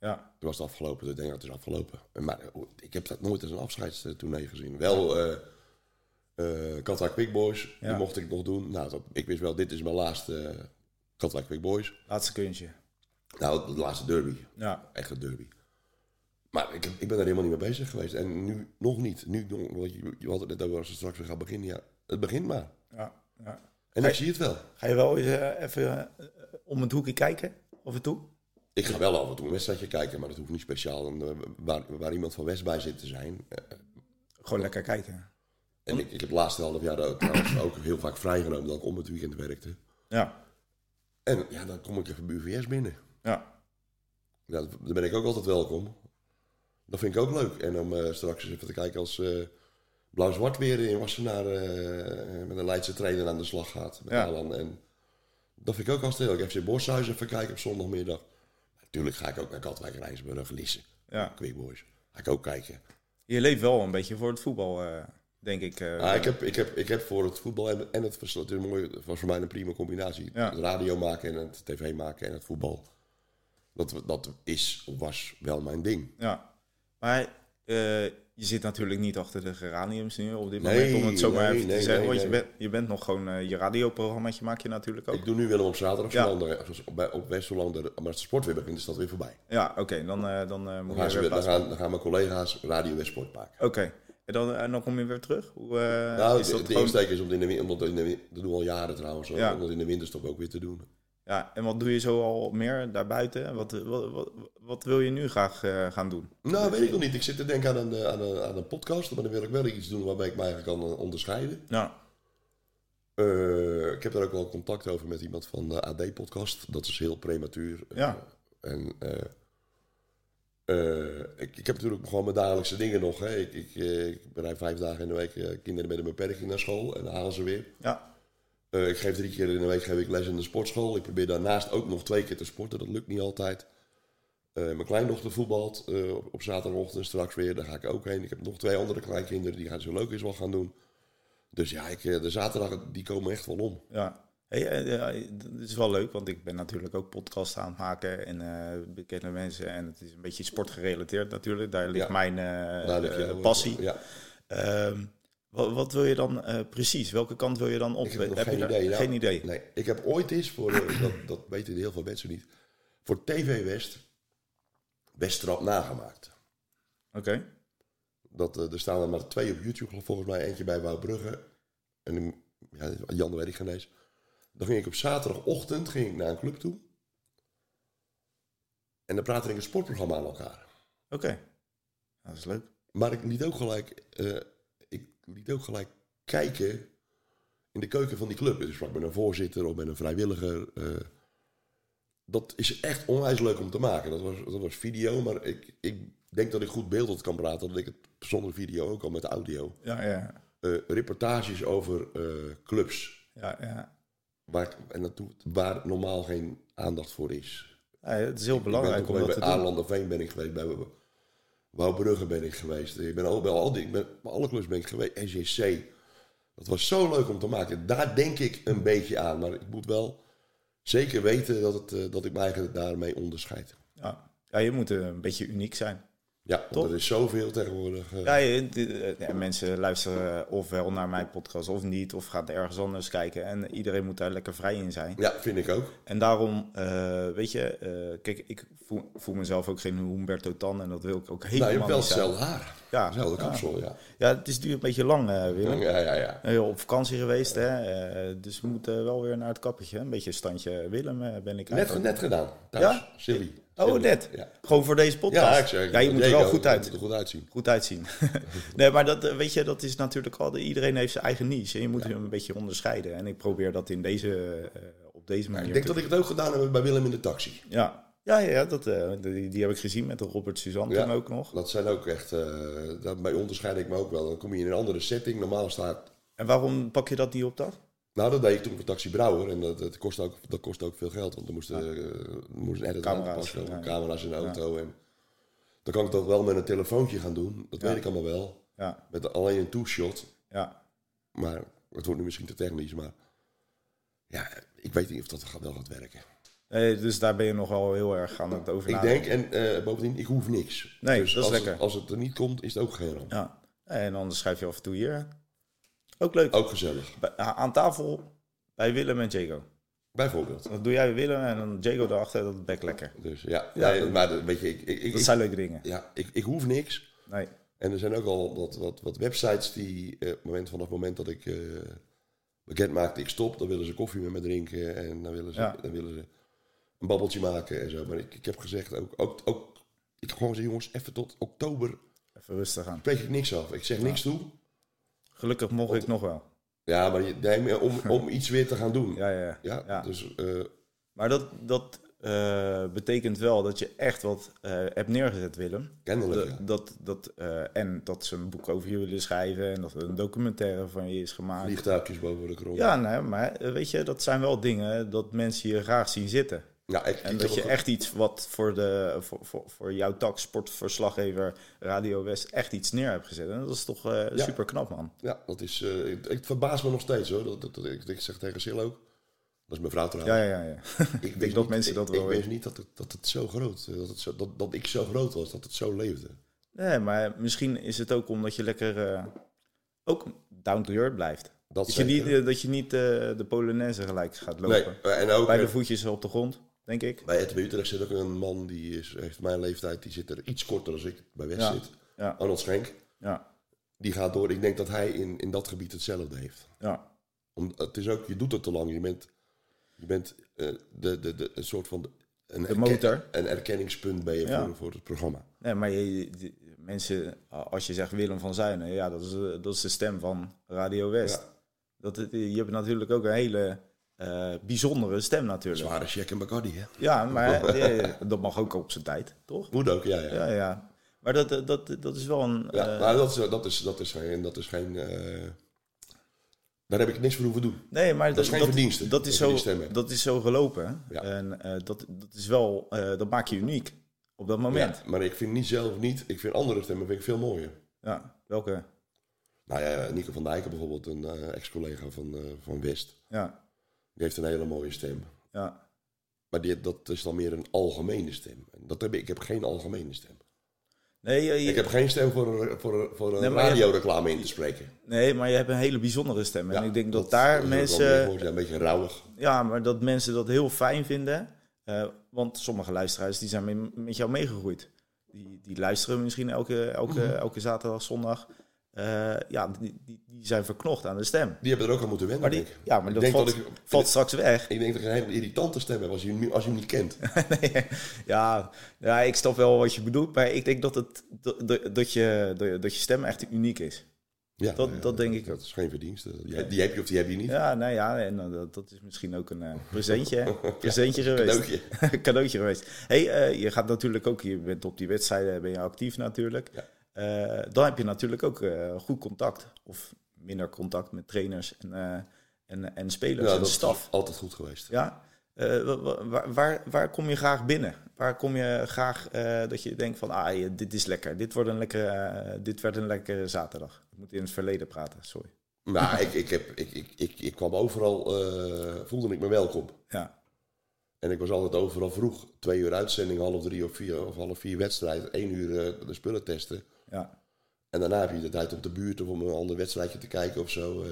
[SPEAKER 1] ja.
[SPEAKER 2] toen was het afgelopen. Toen denk ik, ja, het is afgelopen. En Maar eh, ik heb dat nooit als een afscheidstournee gezien. Wel eh eh Katwijk Quick Boys,
[SPEAKER 1] Ja.
[SPEAKER 2] die mocht ik nog doen. Nou, dat, ik wist wel, dit is mijn laatste eh Katwijk Quick Boys.
[SPEAKER 1] Laatste kunstje.
[SPEAKER 2] Nou, de laatste derby.
[SPEAKER 1] Ja,
[SPEAKER 2] Echt een derby. Maar ik, ik ben er helemaal niet mee bezig geweest. En nu nog niet. Nu, nog- want je, je had het net over als het straks weer gaat beginnen. Ja, het begint maar.
[SPEAKER 1] ja, ja.
[SPEAKER 2] En ik zie het wel.
[SPEAKER 1] Ga je wel eens eh, even eh, om het hoekje kijken, af en toe?
[SPEAKER 2] Ik ga wel af en toe een wedstrijdje kijken, maar dat hoeft niet speciaal. En, eh, waar, waar iemand van West bij zit te zijn. Eh,
[SPEAKER 1] Gewoon lekker kijken.
[SPEAKER 2] En ik, ik heb het laatste half jaar ook, trouwens ook heel vaak vrijgenomen dat ik om het weekend werkte.
[SPEAKER 1] Ja,
[SPEAKER 2] En ja, dan kom ik even bij UVS binnen.
[SPEAKER 1] ja,
[SPEAKER 2] Ja, daar ben ik ook altijd welkom. Dat vind ik ook leuk. En om eh, straks eens even te kijken als eh, Blauw-Zwart weer in Wassenaar eh, met een Leidse trainer aan de slag gaat. Met
[SPEAKER 1] Ja.
[SPEAKER 2] Alan. En dat vind ik ook hartstikke leuk. FC Boshuis even kijken op zondagmiddag. Natuurlijk ga ik ook naar Katwijk en IJsburg, Lisse,
[SPEAKER 1] ja.
[SPEAKER 2] Quick Boys. Ga ik ook kijken.
[SPEAKER 1] Je leeft wel een beetje voor het voetbal, eh, denk ik. eh.
[SPEAKER 2] Ja, ik, heb, ik, heb, ik heb voor het voetbal en, en het verslag. Het is een mooi, het was voor mij een prima combinatie.
[SPEAKER 1] Ja.
[SPEAKER 2] Het radio maken en het tv maken en het voetbal. Dat, dat is, of was wel mijn ding.
[SPEAKER 1] ja. Maar eh, je zit natuurlijk niet achter de geraniums nu op dit
[SPEAKER 2] Nee,
[SPEAKER 1] moment, om het zo maar
[SPEAKER 2] nee,
[SPEAKER 1] even te
[SPEAKER 2] nee,
[SPEAKER 1] zeggen.
[SPEAKER 2] nee,
[SPEAKER 1] want je,
[SPEAKER 2] nee.
[SPEAKER 1] bent, je bent nog gewoon eh, je radioprogrammaatje maak je natuurlijk ook.
[SPEAKER 2] Ik doe nu Willem op zaterdag
[SPEAKER 1] Ja.
[SPEAKER 2] Hollander, op, bij- op West Hollander, maar als de sport weer begint, is dat weer voorbij.
[SPEAKER 1] Ja, oké, dan, eh, dan eh, moet
[SPEAKER 2] Dan
[SPEAKER 1] je
[SPEAKER 2] gaan, ze
[SPEAKER 1] weer
[SPEAKER 2] weer- dan
[SPEAKER 1] plaatsen.
[SPEAKER 2] gaan, dan gaan mijn collega's Radio West Sport maken.
[SPEAKER 1] Oké, en dan, en dan kom je weer terug? Hoe, eh,
[SPEAKER 2] nou,
[SPEAKER 1] is
[SPEAKER 2] de,
[SPEAKER 1] dat
[SPEAKER 2] de
[SPEAKER 1] gewoon-
[SPEAKER 2] insteek is om, in de, win- om dat in de win- dat doen we al jaren trouwens,
[SPEAKER 1] Ja.
[SPEAKER 2] om dat in de winterstop ook weer te doen.
[SPEAKER 1] Ja, en wat doe je zo al meer daarbuiten? Wat, wat, wat, wat wil je nu graag eh, gaan doen?
[SPEAKER 2] Nou, weet ik nog niet. Ik zit te denken aan een, eh, aan een, aan een podcast, maar dan wil ik wel iets doen waarbij ik mij eigenlijk kan eh, onderscheiden.
[SPEAKER 1] Nou,
[SPEAKER 2] Eh, ik heb daar ook wel contact over met iemand van de AD-podcast. Dat is heel prematuur.
[SPEAKER 1] Ja.
[SPEAKER 2] Eh, en eh, eh, ik, ik heb natuurlijk gewoon mijn dagelijkse dingen nog. Hè. Ik, ik, eh, ik rijd vijf dagen in de week eh, kinderen met een beperking naar school en dan halen ze weer.
[SPEAKER 1] ja,
[SPEAKER 2] Eh, ik geef drie keer in de week geef ik les in de sportschool. Ik probeer daarnaast ook nog twee keer te sporten. Dat lukt niet altijd. Eh, mijn kleindochter voetbalt eh, op, op zaterdagochtend straks weer. Daar ga ik ook heen. Ik heb nog twee andere kleinkinderen. Die gaan zo leuk is wel gaan doen. Dus ja, ik, eh, de zaterdag die komen echt wel om.
[SPEAKER 1] Ja. Hey, eh, eh, dat is wel leuk, want ik ben natuurlijk ook podcasts aan het maken en eh, bekende mensen. En het is een beetje sportgerelateerd natuurlijk. Daar ligt
[SPEAKER 2] Ja.
[SPEAKER 1] mijn eh,
[SPEAKER 2] Daar ligt
[SPEAKER 1] eh,
[SPEAKER 2] jouw-
[SPEAKER 1] passie.
[SPEAKER 2] Ja,
[SPEAKER 1] Ehm, wat, wat wil je dan eh, precies? Welke kant wil je dan op?
[SPEAKER 2] ik heb nog
[SPEAKER 1] je
[SPEAKER 2] geen
[SPEAKER 1] daar-
[SPEAKER 2] idee. Nou,
[SPEAKER 1] geen idee.
[SPEAKER 2] Nee, ik heb ooit eens voor, eh, dat, dat weten heel veel mensen niet, voor TV West, Westrap nagemaakt.
[SPEAKER 1] Oké.
[SPEAKER 2] Dat, eh, er staan er maar twee op YouTube, volgens mij. Eentje bij Wouwbrugge. En een- ja, Jan weet ik geen eens. Dan ging ik op zaterdagochtend ging ik naar een club toe. En dan praatte ik een sportprogramma aan elkaar.
[SPEAKER 1] Oké. Dat is leuk.
[SPEAKER 2] Maar ik liet ook gelijk, eh, ik liet ook gelijk kijken in de keuken van die club. Dus ik sprak met een voorzitter of met een vrijwilliger. eh. dat is echt onwijs leuk om te maken. Dat was, dat was video, maar ik, ik denk dat ik goed beeldend kan praten. Dat ik het zonder video ook al met audio.
[SPEAKER 1] Ja, ja.
[SPEAKER 2] eh, reportages over eh, clubs.
[SPEAKER 1] ja, ja.
[SPEAKER 2] Waar, en dat doet, waar normaal geen aandacht voor is.
[SPEAKER 1] Ja, het is heel
[SPEAKER 2] ik
[SPEAKER 1] belangrijk
[SPEAKER 2] ben
[SPEAKER 1] om dat
[SPEAKER 2] ook bij
[SPEAKER 1] te doen.
[SPEAKER 2] Aarlanderveen ben ik geweest, bij Wouwbrugge ben ik geweest. Ik ben al, bij, al die, ik ben, bij alle clubs ben ik geweest. NGC. Dat was zo leuk om te maken. Daar denk ik een beetje aan. Maar ik moet wel zeker weten dat, het, eh, dat ik mij eigenlijk daarmee onderscheid.
[SPEAKER 1] Ja. ja, je moet eh, een beetje uniek zijn.
[SPEAKER 2] Ja, want
[SPEAKER 1] Toch?
[SPEAKER 2] er is zoveel tegenwoordig. eh.
[SPEAKER 1] Ja, je- de- eh, ja, mensen luisteren ofwel naar mijn podcast of niet, of gaan ergens anders kijken. En iedereen moet daar lekker vrij in zijn.
[SPEAKER 2] ja, vind ik ook.
[SPEAKER 1] En daarom, eh, weet je, eh, kijk, ik voel, voel mezelf ook geen Humberto Tan en dat wil ik ook
[SPEAKER 2] Nou,
[SPEAKER 1] helemaal
[SPEAKER 2] je hebt wel
[SPEAKER 1] niet zijn.
[SPEAKER 2] hetzelfde haar.
[SPEAKER 1] Ja,
[SPEAKER 2] Hetzelfde
[SPEAKER 1] ja.
[SPEAKER 2] kapsel, ja.
[SPEAKER 1] Ja, het is nu een beetje lang, eh
[SPEAKER 2] Ja,
[SPEAKER 1] Willem.
[SPEAKER 2] ja, ja. ja.
[SPEAKER 1] Heel op vakantie geweest, hè. eh, dus we moeten wel weer naar het kappertje. Een beetje standje Willem eh, ben ik
[SPEAKER 2] Net,
[SPEAKER 1] eigenlijk.
[SPEAKER 2] net gedaan, thuis.
[SPEAKER 1] Ja?
[SPEAKER 2] Silly.
[SPEAKER 1] Oh, net.
[SPEAKER 2] Ja,
[SPEAKER 1] Gewoon voor deze podcast.
[SPEAKER 2] ja ik zeg.
[SPEAKER 1] je moet er wel
[SPEAKER 2] Diego,
[SPEAKER 1] goed
[SPEAKER 2] Je
[SPEAKER 1] uit.
[SPEAKER 2] moet er goed uitzien.
[SPEAKER 1] Goed uitzien. nee, maar dat, eh, weet je, dat is natuurlijk al... Iedereen heeft zijn eigen niche. En je moet hem een beetje onderscheiden. En ik probeer dat in deze, eh, op deze manier
[SPEAKER 2] Ik denk
[SPEAKER 1] te
[SPEAKER 2] dat ik het ook gedaan heb bij Willem in de taxi.
[SPEAKER 1] Ja, ja, ja ja, dat, eh, die, die heb ik gezien met de Robert Suzanne
[SPEAKER 2] Ja.
[SPEAKER 1] toen ook nog.
[SPEAKER 2] Dat zijn ook echt, eh daarbij onderscheid ik me ook wel. Dan kom je in een andere setting. Normaal staat,
[SPEAKER 1] En waarom pak je dat niet op dan?
[SPEAKER 2] nou dat deed ik toen voor Taxi Brouwer. En dat, dat, kostte, ook, dat kostte ook veel geld. Want er moesten, eh, er moest een edit aan
[SPEAKER 1] Camera's,
[SPEAKER 2] passen,
[SPEAKER 1] ja.
[SPEAKER 2] camera's in de auto. En dan kan ik dat wel met een telefoontje gaan doen. Dat weet ik allemaal wel.
[SPEAKER 1] Ja,
[SPEAKER 2] Met alleen een two-shot.
[SPEAKER 1] ja.
[SPEAKER 2] Maar het wordt nu misschien te technisch. Maar ja, ik weet niet of dat gaat- wel gaat werken.
[SPEAKER 1] Nee, dus daar ben je nog wel heel erg aan het over
[SPEAKER 2] ik denk, en eh, bovendien, ik hoef niks.
[SPEAKER 1] Nou, Nee,
[SPEAKER 2] Dus
[SPEAKER 1] dat is
[SPEAKER 2] als
[SPEAKER 1] lekker.
[SPEAKER 2] Het, als het er niet komt, is het ook geen ramp.
[SPEAKER 1] Ja. En dan schrijf je af en toe hier. Ook leuk.
[SPEAKER 2] Ook gezellig.
[SPEAKER 1] Bij- aan tafel bij Willem en Jago.
[SPEAKER 2] Bijvoorbeeld.
[SPEAKER 1] Dat doe jij bij Willem en dan Jago erachter. Dat bekt lekker.
[SPEAKER 2] Dus ja,
[SPEAKER 1] Ja,
[SPEAKER 2] nee,
[SPEAKER 1] dat-
[SPEAKER 2] maar dat- weet je, ik, ik, ik,
[SPEAKER 1] Dat zijn leuke dingen.
[SPEAKER 2] ja, ik, ik hoef niks.
[SPEAKER 1] Nee.
[SPEAKER 2] En er zijn ook al wat, wat, wat websites die eh, op het moment, vanaf het moment dat ik eh, bekend maakte, ik stop, dan willen ze koffie met me drinken en dan willen ze,
[SPEAKER 1] Ja.
[SPEAKER 2] dan willen ze een babbeltje maken en zo. Maar ik, ik heb gezegd, ook, ook, ook, ik heb gewoon gezegd, jongens, even tot oktober
[SPEAKER 1] Even rustig aan.
[SPEAKER 2] spreek ik niks af. Ik zeg niks toe.
[SPEAKER 1] Gelukkig mocht ik nog wel.
[SPEAKER 2] Ja, maar je, nee, maar om, om iets weer te gaan doen. Ja,
[SPEAKER 1] Ja, ja, ja. Ja.
[SPEAKER 2] dus eh,
[SPEAKER 1] Maar dat, dat eh, betekent wel dat je echt wat eh, hebt neergezet, Willem.
[SPEAKER 2] kennelijk.
[SPEAKER 1] Dat-
[SPEAKER 2] ja.
[SPEAKER 1] dat, dat, eh, en dat ze een boek over je willen schrijven en dat er een documentaire van je is gemaakt.
[SPEAKER 2] Vliegtuigjes boven de grond.
[SPEAKER 1] Ja, nee, maar eh, weet je, dat zijn wel dingen dat mensen je graag zien zitten.
[SPEAKER 2] Ja, ik,
[SPEAKER 1] En
[SPEAKER 2] ik
[SPEAKER 1] dat
[SPEAKER 2] heb
[SPEAKER 1] je
[SPEAKER 2] ook-
[SPEAKER 1] echt iets wat voor, de, voor, voor, voor jouw tak, sportverslaggever Radio West, echt iets neer hebt gezet. En dat is toch
[SPEAKER 2] Ja.
[SPEAKER 1] super knap, man.
[SPEAKER 2] Ja, dat is. eh ik, ik verbaas me nog steeds hoor. Dat, dat, dat- ik, ik zeg tegen Sil ook. Dat is mijn vrouw trouwens.
[SPEAKER 1] Ja, ja, ja.
[SPEAKER 2] ik wist
[SPEAKER 1] dat mensen dat
[SPEAKER 2] ik,
[SPEAKER 1] wel
[SPEAKER 2] Ik wist
[SPEAKER 1] weten.
[SPEAKER 2] niet dat het, dat het zo groot eh, dat, het zo, dat, dat ik zo groot was, dat het zo leefde.
[SPEAKER 1] Nee, maar misschien is het ook omdat je lekker eh, ook down to earth blijft.
[SPEAKER 2] Dat
[SPEAKER 1] Dat je niet,
[SPEAKER 2] zeker.
[SPEAKER 1] eh, dat je niet eh, de Polonaise gelijk gaat
[SPEAKER 2] nee,
[SPEAKER 1] lopen.
[SPEAKER 2] eh, en ook
[SPEAKER 1] Bij
[SPEAKER 2] bij,
[SPEAKER 1] de voetjes op de grond, denk ik.
[SPEAKER 2] bij RTB Utrecht zit ook een man die is, heeft mijn leeftijd, die zit er iets korter als ik bij West
[SPEAKER 1] Ja,
[SPEAKER 2] zit.
[SPEAKER 1] ja.
[SPEAKER 2] Arnold Schenk,
[SPEAKER 1] Ja,
[SPEAKER 2] die gaat door. Ik denk dat hij in, in dat gebied hetzelfde heeft.
[SPEAKER 1] ja.
[SPEAKER 2] Om, het is ook, je doet het te lang. Je bent, je bent eh, de, de, de, een soort van een, erken-
[SPEAKER 1] motor.
[SPEAKER 2] een erkenningspunt ben je
[SPEAKER 1] Ja.
[SPEAKER 2] voor, voor het programma.
[SPEAKER 1] Nee, maar je, die- mensen, als je zegt Willem van Zuinen, ja, dat is, eh, dat is de stem van Radio West.
[SPEAKER 2] Ja.
[SPEAKER 1] Dat, het- je hebt natuurlijk ook een hele eh, bijzondere stem natuurlijk.
[SPEAKER 2] Zware check en Bacardi, hè?
[SPEAKER 1] Ja, maar eh, dat mag ook op zijn tijd, toch?
[SPEAKER 2] Moet ook, ja. ja.
[SPEAKER 1] Ja, ja. Maar dat, eh, dat, dat is wel een...
[SPEAKER 2] Ja,
[SPEAKER 1] eh,
[SPEAKER 2] maar dat is, dat is, dat is geen... Dat is geen eh, daar heb ik niks voor hoeven doen.
[SPEAKER 1] nee, maar
[SPEAKER 2] is geen verdienste,
[SPEAKER 1] Dat is,
[SPEAKER 2] dat je
[SPEAKER 1] zo,
[SPEAKER 2] die stem hebt.
[SPEAKER 1] dat is zo gelopen. hè?
[SPEAKER 2] Ja.
[SPEAKER 1] En eh, dat, dat is wel... eh, dat maakt je uniek op dat moment.
[SPEAKER 2] Ja, maar ik vind niet zelf niet... Ik vind andere stemmen vind ik veel mooier.
[SPEAKER 1] Ja, welke...
[SPEAKER 2] Nou ja, Nico van Dijken bijvoorbeeld, een eh, ex-collega van, eh, van West.
[SPEAKER 1] Ja,
[SPEAKER 2] Die heeft een hele mooie stem.
[SPEAKER 1] ja.
[SPEAKER 2] Maar die, dat is dan meer een algemene stem. En Dat heb ik, ik heb geen algemene stem.
[SPEAKER 1] Nee, je- je-
[SPEAKER 2] Ik heb geen stem voor, een- voor, een- voor een
[SPEAKER 1] Nee, maar je-
[SPEAKER 2] radioreclame in te spreken.
[SPEAKER 1] Nee, maar je hebt een hele bijzondere stem. En
[SPEAKER 2] Ja,
[SPEAKER 1] ik denk dat, daar
[SPEAKER 2] is ook wel meer
[SPEAKER 1] mensen,
[SPEAKER 2] voor. Ja, een beetje rauwig.
[SPEAKER 1] ja, maar dat mensen dat heel fijn vinden. Eh, want sommige luisteraars die zijn met- met jou meegegroeid. Die, die luisteren misschien elke, elke,
[SPEAKER 2] Mhm.
[SPEAKER 1] elke zaterdag, zondag. Eh, ja, die, die, die zijn verknocht aan de stem.
[SPEAKER 2] Die hebben er ook aan moeten wennen,
[SPEAKER 1] Maar die,
[SPEAKER 2] denk ik.
[SPEAKER 1] ja, maar
[SPEAKER 2] ik
[SPEAKER 1] dat
[SPEAKER 2] denk
[SPEAKER 1] valt,
[SPEAKER 2] dat ik,
[SPEAKER 1] valt straks weg.
[SPEAKER 2] ik denk dat ik een hele irritante stem heb als je, hem niet- als je hem niet kent.
[SPEAKER 1] nee, ja, ja, ik snap wel wat je bedoelt. Maar ik denk dat, het, dat, dat- dat, je, dat, dat je stem echt uniek is.
[SPEAKER 2] Ja,
[SPEAKER 1] Dat-
[SPEAKER 2] eh,
[SPEAKER 1] dat denk ik
[SPEAKER 2] Dat is geen verdienste. Die, die heb je of die heb je niet.
[SPEAKER 1] Ja, nou ja, en eh, dat, dat is misschien ook een eh, presentje, hè? Presentje geweest.
[SPEAKER 2] Cadeautje.
[SPEAKER 1] Cadeautje geweest. hey, eh, je gaat natuurlijk ook, je bent op die wedstrijden, ben je actief natuurlijk.
[SPEAKER 2] Ja.
[SPEAKER 1] Eh, dan heb je natuurlijk ook eh, goed contact, of minder contact met trainers en, eh, en, en spelers en
[SPEAKER 2] dat
[SPEAKER 1] staf.
[SPEAKER 2] is altijd goed geweest.
[SPEAKER 1] Ja? Eh, wa- wa- waar, waar, waar kom je graag binnen? Waar kom je graag eh, dat je denkt van, ah, je- dit is lekker, dit, wordt een lekkere, eh, dit werd een lekkere zaterdag. Ik moet in het verleden praten, sorry.
[SPEAKER 2] Maar ik, ik, heb, ik, ik, ik, ik kwam overal, eh, voelde ik me welkom.
[SPEAKER 1] Ja,
[SPEAKER 2] En ik was altijd overal vroeg. Twee uur uitzending, half drie of vier, of half vier wedstrijd. één uur eh, de spullen testen.
[SPEAKER 1] Ja,
[SPEAKER 2] En daarna heb je de tijd om te buurt of om een ander wedstrijdje te kijken of zo. eh.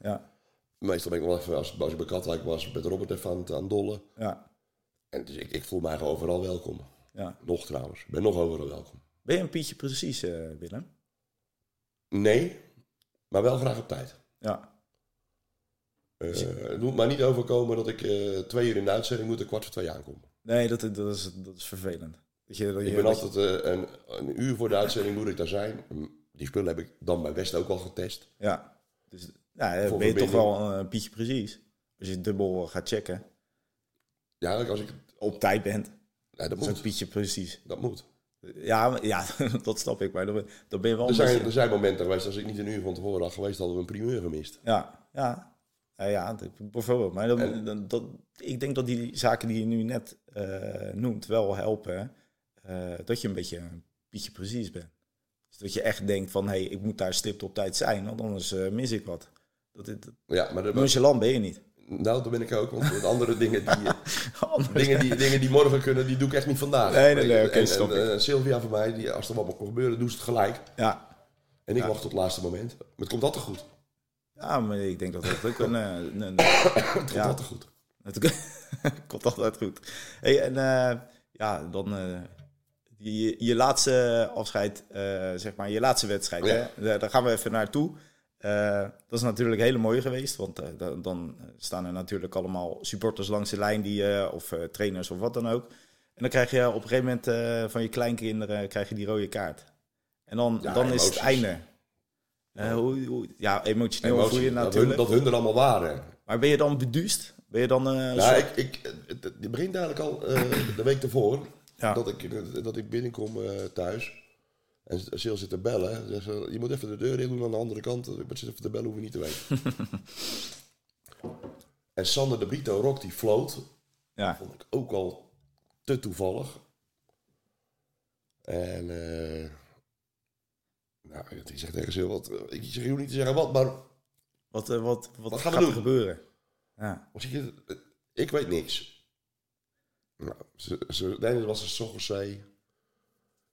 [SPEAKER 1] ja,
[SPEAKER 2] meestal ben ik wel even, als, als ik bij Katwijk was, met Robert even aan, het- aan het dollen.
[SPEAKER 1] ja,
[SPEAKER 2] En dus ik, ik voel mij gewoon overal welkom.
[SPEAKER 1] ja.
[SPEAKER 2] Nog trouwens, ik ben nog overal welkom.
[SPEAKER 1] Ben je een Pietje precies, eh, Willem?
[SPEAKER 2] Nee, maar wel graag op tijd.
[SPEAKER 1] Ja,
[SPEAKER 2] Eh,
[SPEAKER 1] Dus-
[SPEAKER 2] het moet maar niet overkomen dat ik eh, twee uur in de uitzending moet en kwart voor twee aankom.
[SPEAKER 1] nee, dat, dat, is, dat is vervelend. Dat je, dat
[SPEAKER 2] Ik
[SPEAKER 1] je-
[SPEAKER 2] ben
[SPEAKER 1] dat je-
[SPEAKER 2] altijd eh, een, een uur voor de uitzending moet ik daar zijn. Hm, Die spullen heb ik dan bij West ook al getest.
[SPEAKER 1] Ja, dus nou, eh,
[SPEAKER 2] Voor
[SPEAKER 1] ben je toch
[SPEAKER 2] verbinding.
[SPEAKER 1] wel een eh, Pietje precies. Als je dubbel eh, gaat checken,
[SPEAKER 2] Ja, als ik op...
[SPEAKER 1] op tijd bent,
[SPEAKER 2] Ja, dat
[SPEAKER 1] dat is
[SPEAKER 2] moet.
[SPEAKER 1] een Pietje precies.
[SPEAKER 2] Dat moet.
[SPEAKER 1] Ja, maar- ja dat snap ik, maar dan, ben- dan ben je wel...
[SPEAKER 2] Er
[SPEAKER 1] een
[SPEAKER 2] zijn,
[SPEAKER 1] beetje-
[SPEAKER 2] er zijn momenten geweest, als ik niet een uur van tevoren had geweest, hadden we een primeur gemist.
[SPEAKER 1] Ja, ja. Ja, ja, dat- bijvoorbeeld. Maar dat, dat, dat- ik denk dat die zaken die je nu net eh, noemt wel helpen. eh, dat je een beetje een beetje precies bent. Dus dat je echt denkt van, hé, hey, ik moet daar stipt op tijd zijn, want anders eh, mis ik wat. Dat, dat,
[SPEAKER 2] Ja, maar dat,
[SPEAKER 1] nonchalant ben je niet.
[SPEAKER 2] nou, dat ben ik ook, want met andere dingen die, eh,
[SPEAKER 1] Anders-
[SPEAKER 2] dingen, die, dingen die morgen kunnen, die doe ik echt niet vandaag.
[SPEAKER 1] Nee, nee, nee,
[SPEAKER 2] En-
[SPEAKER 1] oké,
[SPEAKER 2] en
[SPEAKER 1] snap ik.
[SPEAKER 2] eh, Sylvia voor mij, die, als er wat moet gebeuren, doet ze het gelijk.
[SPEAKER 1] Ja.
[SPEAKER 2] En ik wacht tot het laatste moment. Maar het komt altijd goed.
[SPEAKER 1] ja, maar ik denk dat dat ook een... eh, een, een
[SPEAKER 2] Het komt
[SPEAKER 1] Ja.
[SPEAKER 2] altijd goed.
[SPEAKER 1] het komt altijd goed. Hey, en eh, ja, dan eh, je, je laatste afscheid, eh, zeg maar, je laatste wedstrijd.
[SPEAKER 2] Oh Ja.
[SPEAKER 1] Hè? Daar, daar gaan we even naartoe. Eh, dat is natuurlijk hele mooi geweest, want eh, dan, dan staan er natuurlijk allemaal supporters langs de lijn die, eh, of eh, trainers of wat dan ook. En dan krijg je op een gegeven moment eh, van je kleinkinderen krijg je die rode kaart. En dan,
[SPEAKER 2] Ja,
[SPEAKER 1] dan is het
[SPEAKER 2] emoties.
[SPEAKER 1] einde. Eh, hoe, hoe- ja, emotioneel
[SPEAKER 2] Emotie,
[SPEAKER 1] voel je nou
[SPEAKER 2] dat, hun,
[SPEAKER 1] natuurlijk.
[SPEAKER 2] dat hun er allemaal waren.
[SPEAKER 1] Maar ben je dan beduust? Ben je dan eh, een
[SPEAKER 2] Ja,
[SPEAKER 1] soort-
[SPEAKER 2] ik, ik, het, het- het begint eigenlijk al eh, de week ervoor.
[SPEAKER 1] Ja.
[SPEAKER 2] Dat, ik, dat ik binnenkom eh, thuis. En Sil zit te bellen. Zegt ze, je moet even de deur in doen aan de andere kant. Ik zit even te bellen, hoef je niet te weten. en Sander de Brito Rock, die floot.
[SPEAKER 1] Ja.
[SPEAKER 2] Vond ik ook al te toevallig. En... eh, nou, die zegt tegen Sil, wat, eh, ik zeg, je hoeft niet te zeggen wat, maar...
[SPEAKER 1] Wat, eh, wat, wat,
[SPEAKER 2] Wat gaan
[SPEAKER 1] gaat
[SPEAKER 2] we
[SPEAKER 1] er
[SPEAKER 2] doen?
[SPEAKER 1] gebeuren? Ja.
[SPEAKER 2] Of zie je, ik weet niks. Nou, ze, ze, nee, dat was een 's ochtends zei.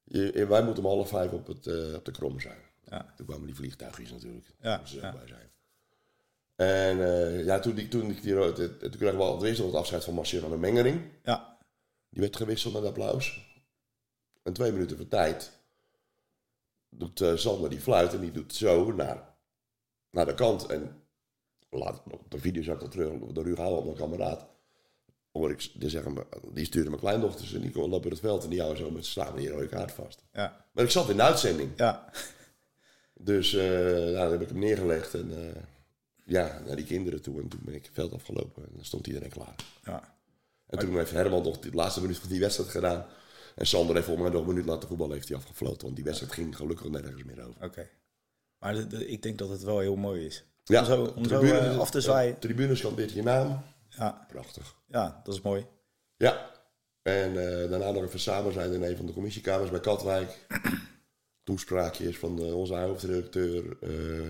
[SPEAKER 2] je- wij moeten om half vijf op, het, eh, op de krom zijn.
[SPEAKER 1] Ja.
[SPEAKER 2] Toen kwamen die vliegtuigjes natuurlijk.
[SPEAKER 1] Ja,
[SPEAKER 2] Daar moesten ze
[SPEAKER 1] ja.
[SPEAKER 2] ook bij zijn. En eh, ja, toen, ik, toen, ik die, rood- eh, toen kregen we al het eerste wat afscheid van Marcel aan de Mengering.
[SPEAKER 1] Ja.
[SPEAKER 2] Die werd gewisseld met applaus. En twee minuten voor tijd doet eh, Sander die fluit en die doet zo naar, naar de kant. En laat, op de video zag ik dat terug, door Ruud Houwen, mijn kameraad. Hoor ik, die, zeggen, me- die stuurde mijn kleindochters en die kon lopen het veld en die houden zo met samen die rode kaart vast.
[SPEAKER 1] Ja.
[SPEAKER 2] Maar ik zat in de uitzending.
[SPEAKER 1] Ja.
[SPEAKER 2] Dus eh nou, dan heb ik hem neergelegd en eh, ja, naar die kinderen toe. En toen ben ik het veld afgelopen en dan stond iedereen klaar.
[SPEAKER 1] Ja.
[SPEAKER 2] En toen heeft Herman nog de laatste minuut van die wedstrijd gedaan. En Sander heeft volgens mij nog een minuut laten voetballen, heeft hij afgefloten. Want die wedstrijd ging gelukkig nergens meer over.
[SPEAKER 1] Oké. Maar de- de- ik denk dat het wel heel mooi is.
[SPEAKER 2] Ja,
[SPEAKER 1] om zo, om zo
[SPEAKER 2] tribune-
[SPEAKER 1] eh, af te zwaaien.
[SPEAKER 2] Tribunes kan dit je naam.
[SPEAKER 1] Ja.
[SPEAKER 2] Prachtig.
[SPEAKER 1] ja, dat is mooi.
[SPEAKER 2] Ja. En eh, daarna nog even samen zijn in een van de commissiekamers bij Katwijk. Toespraakjes van eh, onze hoofdredacteur. eh,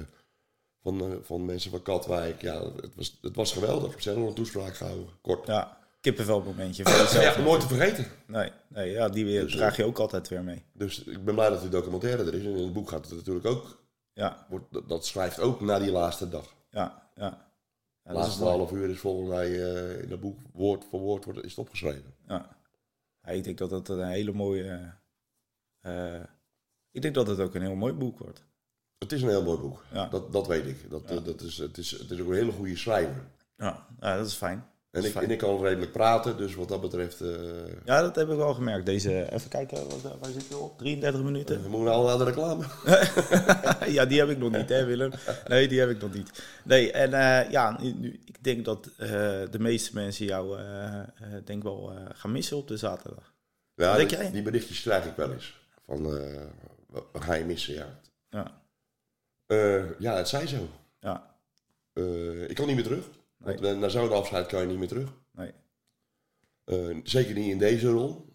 [SPEAKER 2] van, eh, van mensen van Katwijk. Ja, het was, het was geweldig. We zijn nog een toespraak gehouden. Kort.
[SPEAKER 1] Ja, kippenvel momentje voor jezelf.
[SPEAKER 2] Ja, nooit te vergeten.
[SPEAKER 1] Nee, nee ja, die weer, draag je ook altijd weer mee.
[SPEAKER 2] Dus ik ben blij dat die documentaire er is. En in het boek gaat het natuurlijk ook
[SPEAKER 1] Ja,
[SPEAKER 2] wordt, dat, dat schrijft ook na die laatste dag.
[SPEAKER 1] ja, ja. ja dat is
[SPEAKER 2] De laatste
[SPEAKER 1] mooi.
[SPEAKER 2] half uur is volgens mij eh, in dat boek woord voor woord wordt, is het opgeschreven.
[SPEAKER 1] Ja. Ja, ik denk dat dat een hele mooie... eh, ik denk dat het ook een heel mooi boek wordt.
[SPEAKER 2] Het is een heel mooi boek,
[SPEAKER 1] Ja.
[SPEAKER 2] dat, dat weet ik. Dat, eh, dat is, het, is, het is ook een hele goede schrijver.
[SPEAKER 1] Ja, ja dat is fijn. Dat
[SPEAKER 2] En
[SPEAKER 1] is
[SPEAKER 2] ik,
[SPEAKER 1] fijn.
[SPEAKER 2] en ik kan redelijk praten, dus wat dat betreft... eh
[SPEAKER 1] Ja, dat heb ik wel gemerkt. Deze, even kijken, wat- waar zit je op? 33 minuten?
[SPEAKER 2] we moeten al naar de reclame.
[SPEAKER 1] ja, die heb ik nog niet, hè Willem? Nee, die heb ik nog niet. Nee, en eh, ja, nu, nu- ik denk dat eh, de meeste mensen jou eh, eh, denk wel eh, gaan missen op de zaterdag.
[SPEAKER 2] Ja,
[SPEAKER 1] denk
[SPEAKER 2] die,
[SPEAKER 1] jij?
[SPEAKER 2] die berichtjes krijg ik wel eens. Van, eh wat wat ga je missen, ja.
[SPEAKER 1] Ja,
[SPEAKER 2] Eh, ja, het zij zo.
[SPEAKER 1] ja
[SPEAKER 2] Eh, ik kan niet meer terug. Want eh, na zo'n afscheid kan je niet meer terug.
[SPEAKER 1] nee.
[SPEAKER 2] Eh, zeker niet in deze rol.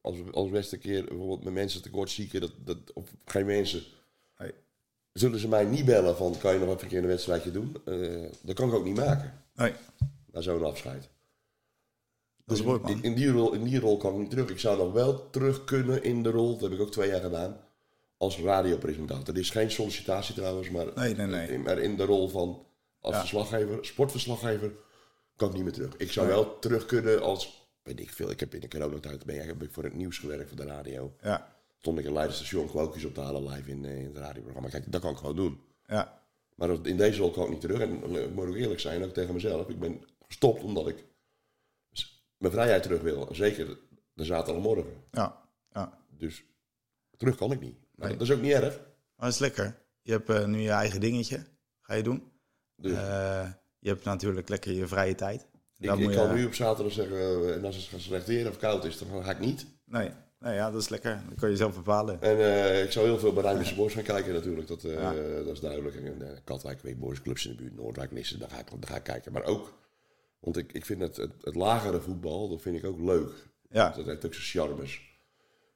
[SPEAKER 2] Als, als beste keer bijvoorbeeld met mensen tekort zieken, dat, dat, of geen mensen,
[SPEAKER 1] Nee.
[SPEAKER 2] zullen ze mij niet bellen van kan je nog even een keer een wedstrijdje doen? Eh, dat kan ik ook niet maken
[SPEAKER 1] nee.
[SPEAKER 2] na zo'n afscheid.
[SPEAKER 1] Dat is mooi, man.
[SPEAKER 2] in, in die rol, in die rol kan ik niet terug. Ik zou nog wel terug kunnen in de rol, dat heb ik ook twee jaar gedaan, als radiopresentator. Dit is geen sollicitatie trouwens, maar,
[SPEAKER 1] Nee, nee, nee.
[SPEAKER 2] In, maar in de rol van als
[SPEAKER 1] Ja.
[SPEAKER 2] verslaggever, sportverslaggever, kan ik niet meer terug. Ik zou wel terug kunnen als, weet ik veel, ik heb in de coronatijd ben, heb ik voor het nieuws gewerkt voor de radio.
[SPEAKER 1] Ja,
[SPEAKER 2] Stond ik in Leiderstation quotejes op te halen live in, eh, in het radioprogramma. Kijk, dat kan ik gewoon doen.
[SPEAKER 1] ja,
[SPEAKER 2] Maar dat- in deze rol kan ik niet terug. En ik moet ook eerlijk zijn, ook tegen mezelf. Ik ben gestopt omdat ik s- mijn vrijheid terug wil. Zeker de zaterdagmorgen.
[SPEAKER 1] ja, ja.
[SPEAKER 2] Dus terug kan ik niet. Maar
[SPEAKER 1] Nee.
[SPEAKER 2] Dat is ook niet erg.
[SPEAKER 1] Maar dat is lekker. Je hebt eh, nu je eigen dingetje. Ga je doen.
[SPEAKER 2] Dus
[SPEAKER 1] Eh, je hebt natuurlijk lekker je vrije tijd.
[SPEAKER 2] ik,
[SPEAKER 1] Dan
[SPEAKER 2] ik
[SPEAKER 1] moet
[SPEAKER 2] kan
[SPEAKER 1] je-
[SPEAKER 2] nu op zaterdag zeggen, eh, en als het geselecteerd of koud is, dan ga ik niet.
[SPEAKER 1] Nee, nee ja, dat is lekker. Dat kan je zelf bepalen.
[SPEAKER 2] En eh, ik zou heel veel bij Rijnmondse Boys gaan kijken natuurlijk. Dat, eh,
[SPEAKER 1] Ja.
[SPEAKER 2] dat is duidelijk. En, eh, Katwijk, weet Boys, clubs in de buurt, Noordwijk, Nissen, daar ga ik, daar ga ik kijken. Maar ook, want ik, ik vind het, het, het lagere voetbal, dat vind ik ook leuk.
[SPEAKER 1] Ja,
[SPEAKER 2] Dat heeft ook zijn charmes.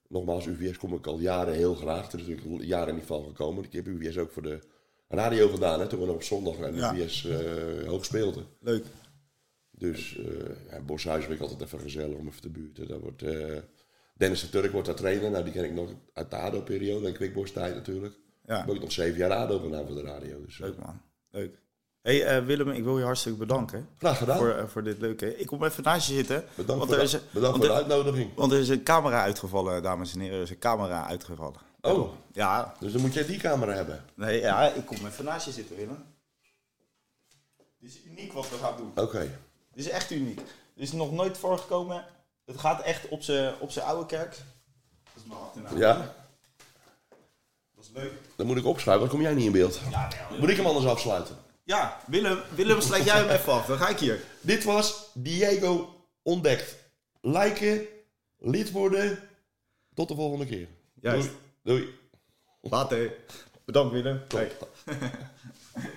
[SPEAKER 2] Nogmaals, UVS kom ik al jaren heel graag. Er is natuurlijk jaren niet van gekomen. Ik heb UVS ook voor de radio gedaan, hè, toen we nog op zondag en
[SPEAKER 1] Ja.
[SPEAKER 2] UVS eh, hoog speelden.
[SPEAKER 1] leuk.
[SPEAKER 2] Dus eh ja, Boshuis vind ik altijd even gezellig om even te buurten. Daar wordt, eh, Dennis de Turk wordt daar trainer. Nou, die ken ik nog uit de ADO-periode en Kwikborstijd natuurlijk. Ik
[SPEAKER 1] Ja,
[SPEAKER 2] heb ook nog zeven jaar ADO gedaan voor de radio. Dus, eh,
[SPEAKER 1] leuk man. Leuk. hey, eh, Willem, ik wil je hartstikke bedanken
[SPEAKER 2] Graag gedaan.
[SPEAKER 1] voor, eh, voor dit leuke. Ik kom even naast je zitten.
[SPEAKER 2] Oh. bedankt
[SPEAKER 1] want
[SPEAKER 2] voor,
[SPEAKER 1] er
[SPEAKER 2] de,
[SPEAKER 1] is,
[SPEAKER 2] bedankt
[SPEAKER 1] want
[SPEAKER 2] voor de
[SPEAKER 1] er-
[SPEAKER 2] uitnodiging.
[SPEAKER 1] Want er is een camera uitgevallen, dames en heren. Er is een camera uitgevallen.
[SPEAKER 2] Oh,
[SPEAKER 1] Ja,
[SPEAKER 2] dus dan moet jij die camera hebben.
[SPEAKER 1] nee, ja ik kom even naast je zitten, Willem. Dit is uniek wat we gaan doen.
[SPEAKER 2] Oké.
[SPEAKER 1] Dit is echt uniek. Dit is nog nooit voorgekomen. Het gaat echt op zijn op zijn oude kerk. Dat is mijn achternaam.
[SPEAKER 2] Ja,
[SPEAKER 1] Dat is leuk.
[SPEAKER 2] dan moet ik opschuiven, dan kom jij niet in beeld.
[SPEAKER 1] Ja, wel.
[SPEAKER 2] Moet ik hem anders afsluiten?
[SPEAKER 1] ja Willem, Willem, sluit jij hem even af. Dan ga ik hier.
[SPEAKER 2] Dit was Diego Ontdekt. Liken, lid worden. Tot de volgende keer.
[SPEAKER 1] Juist.
[SPEAKER 2] Doei. Doei.
[SPEAKER 1] Later. Bedankt, Willem. Hey.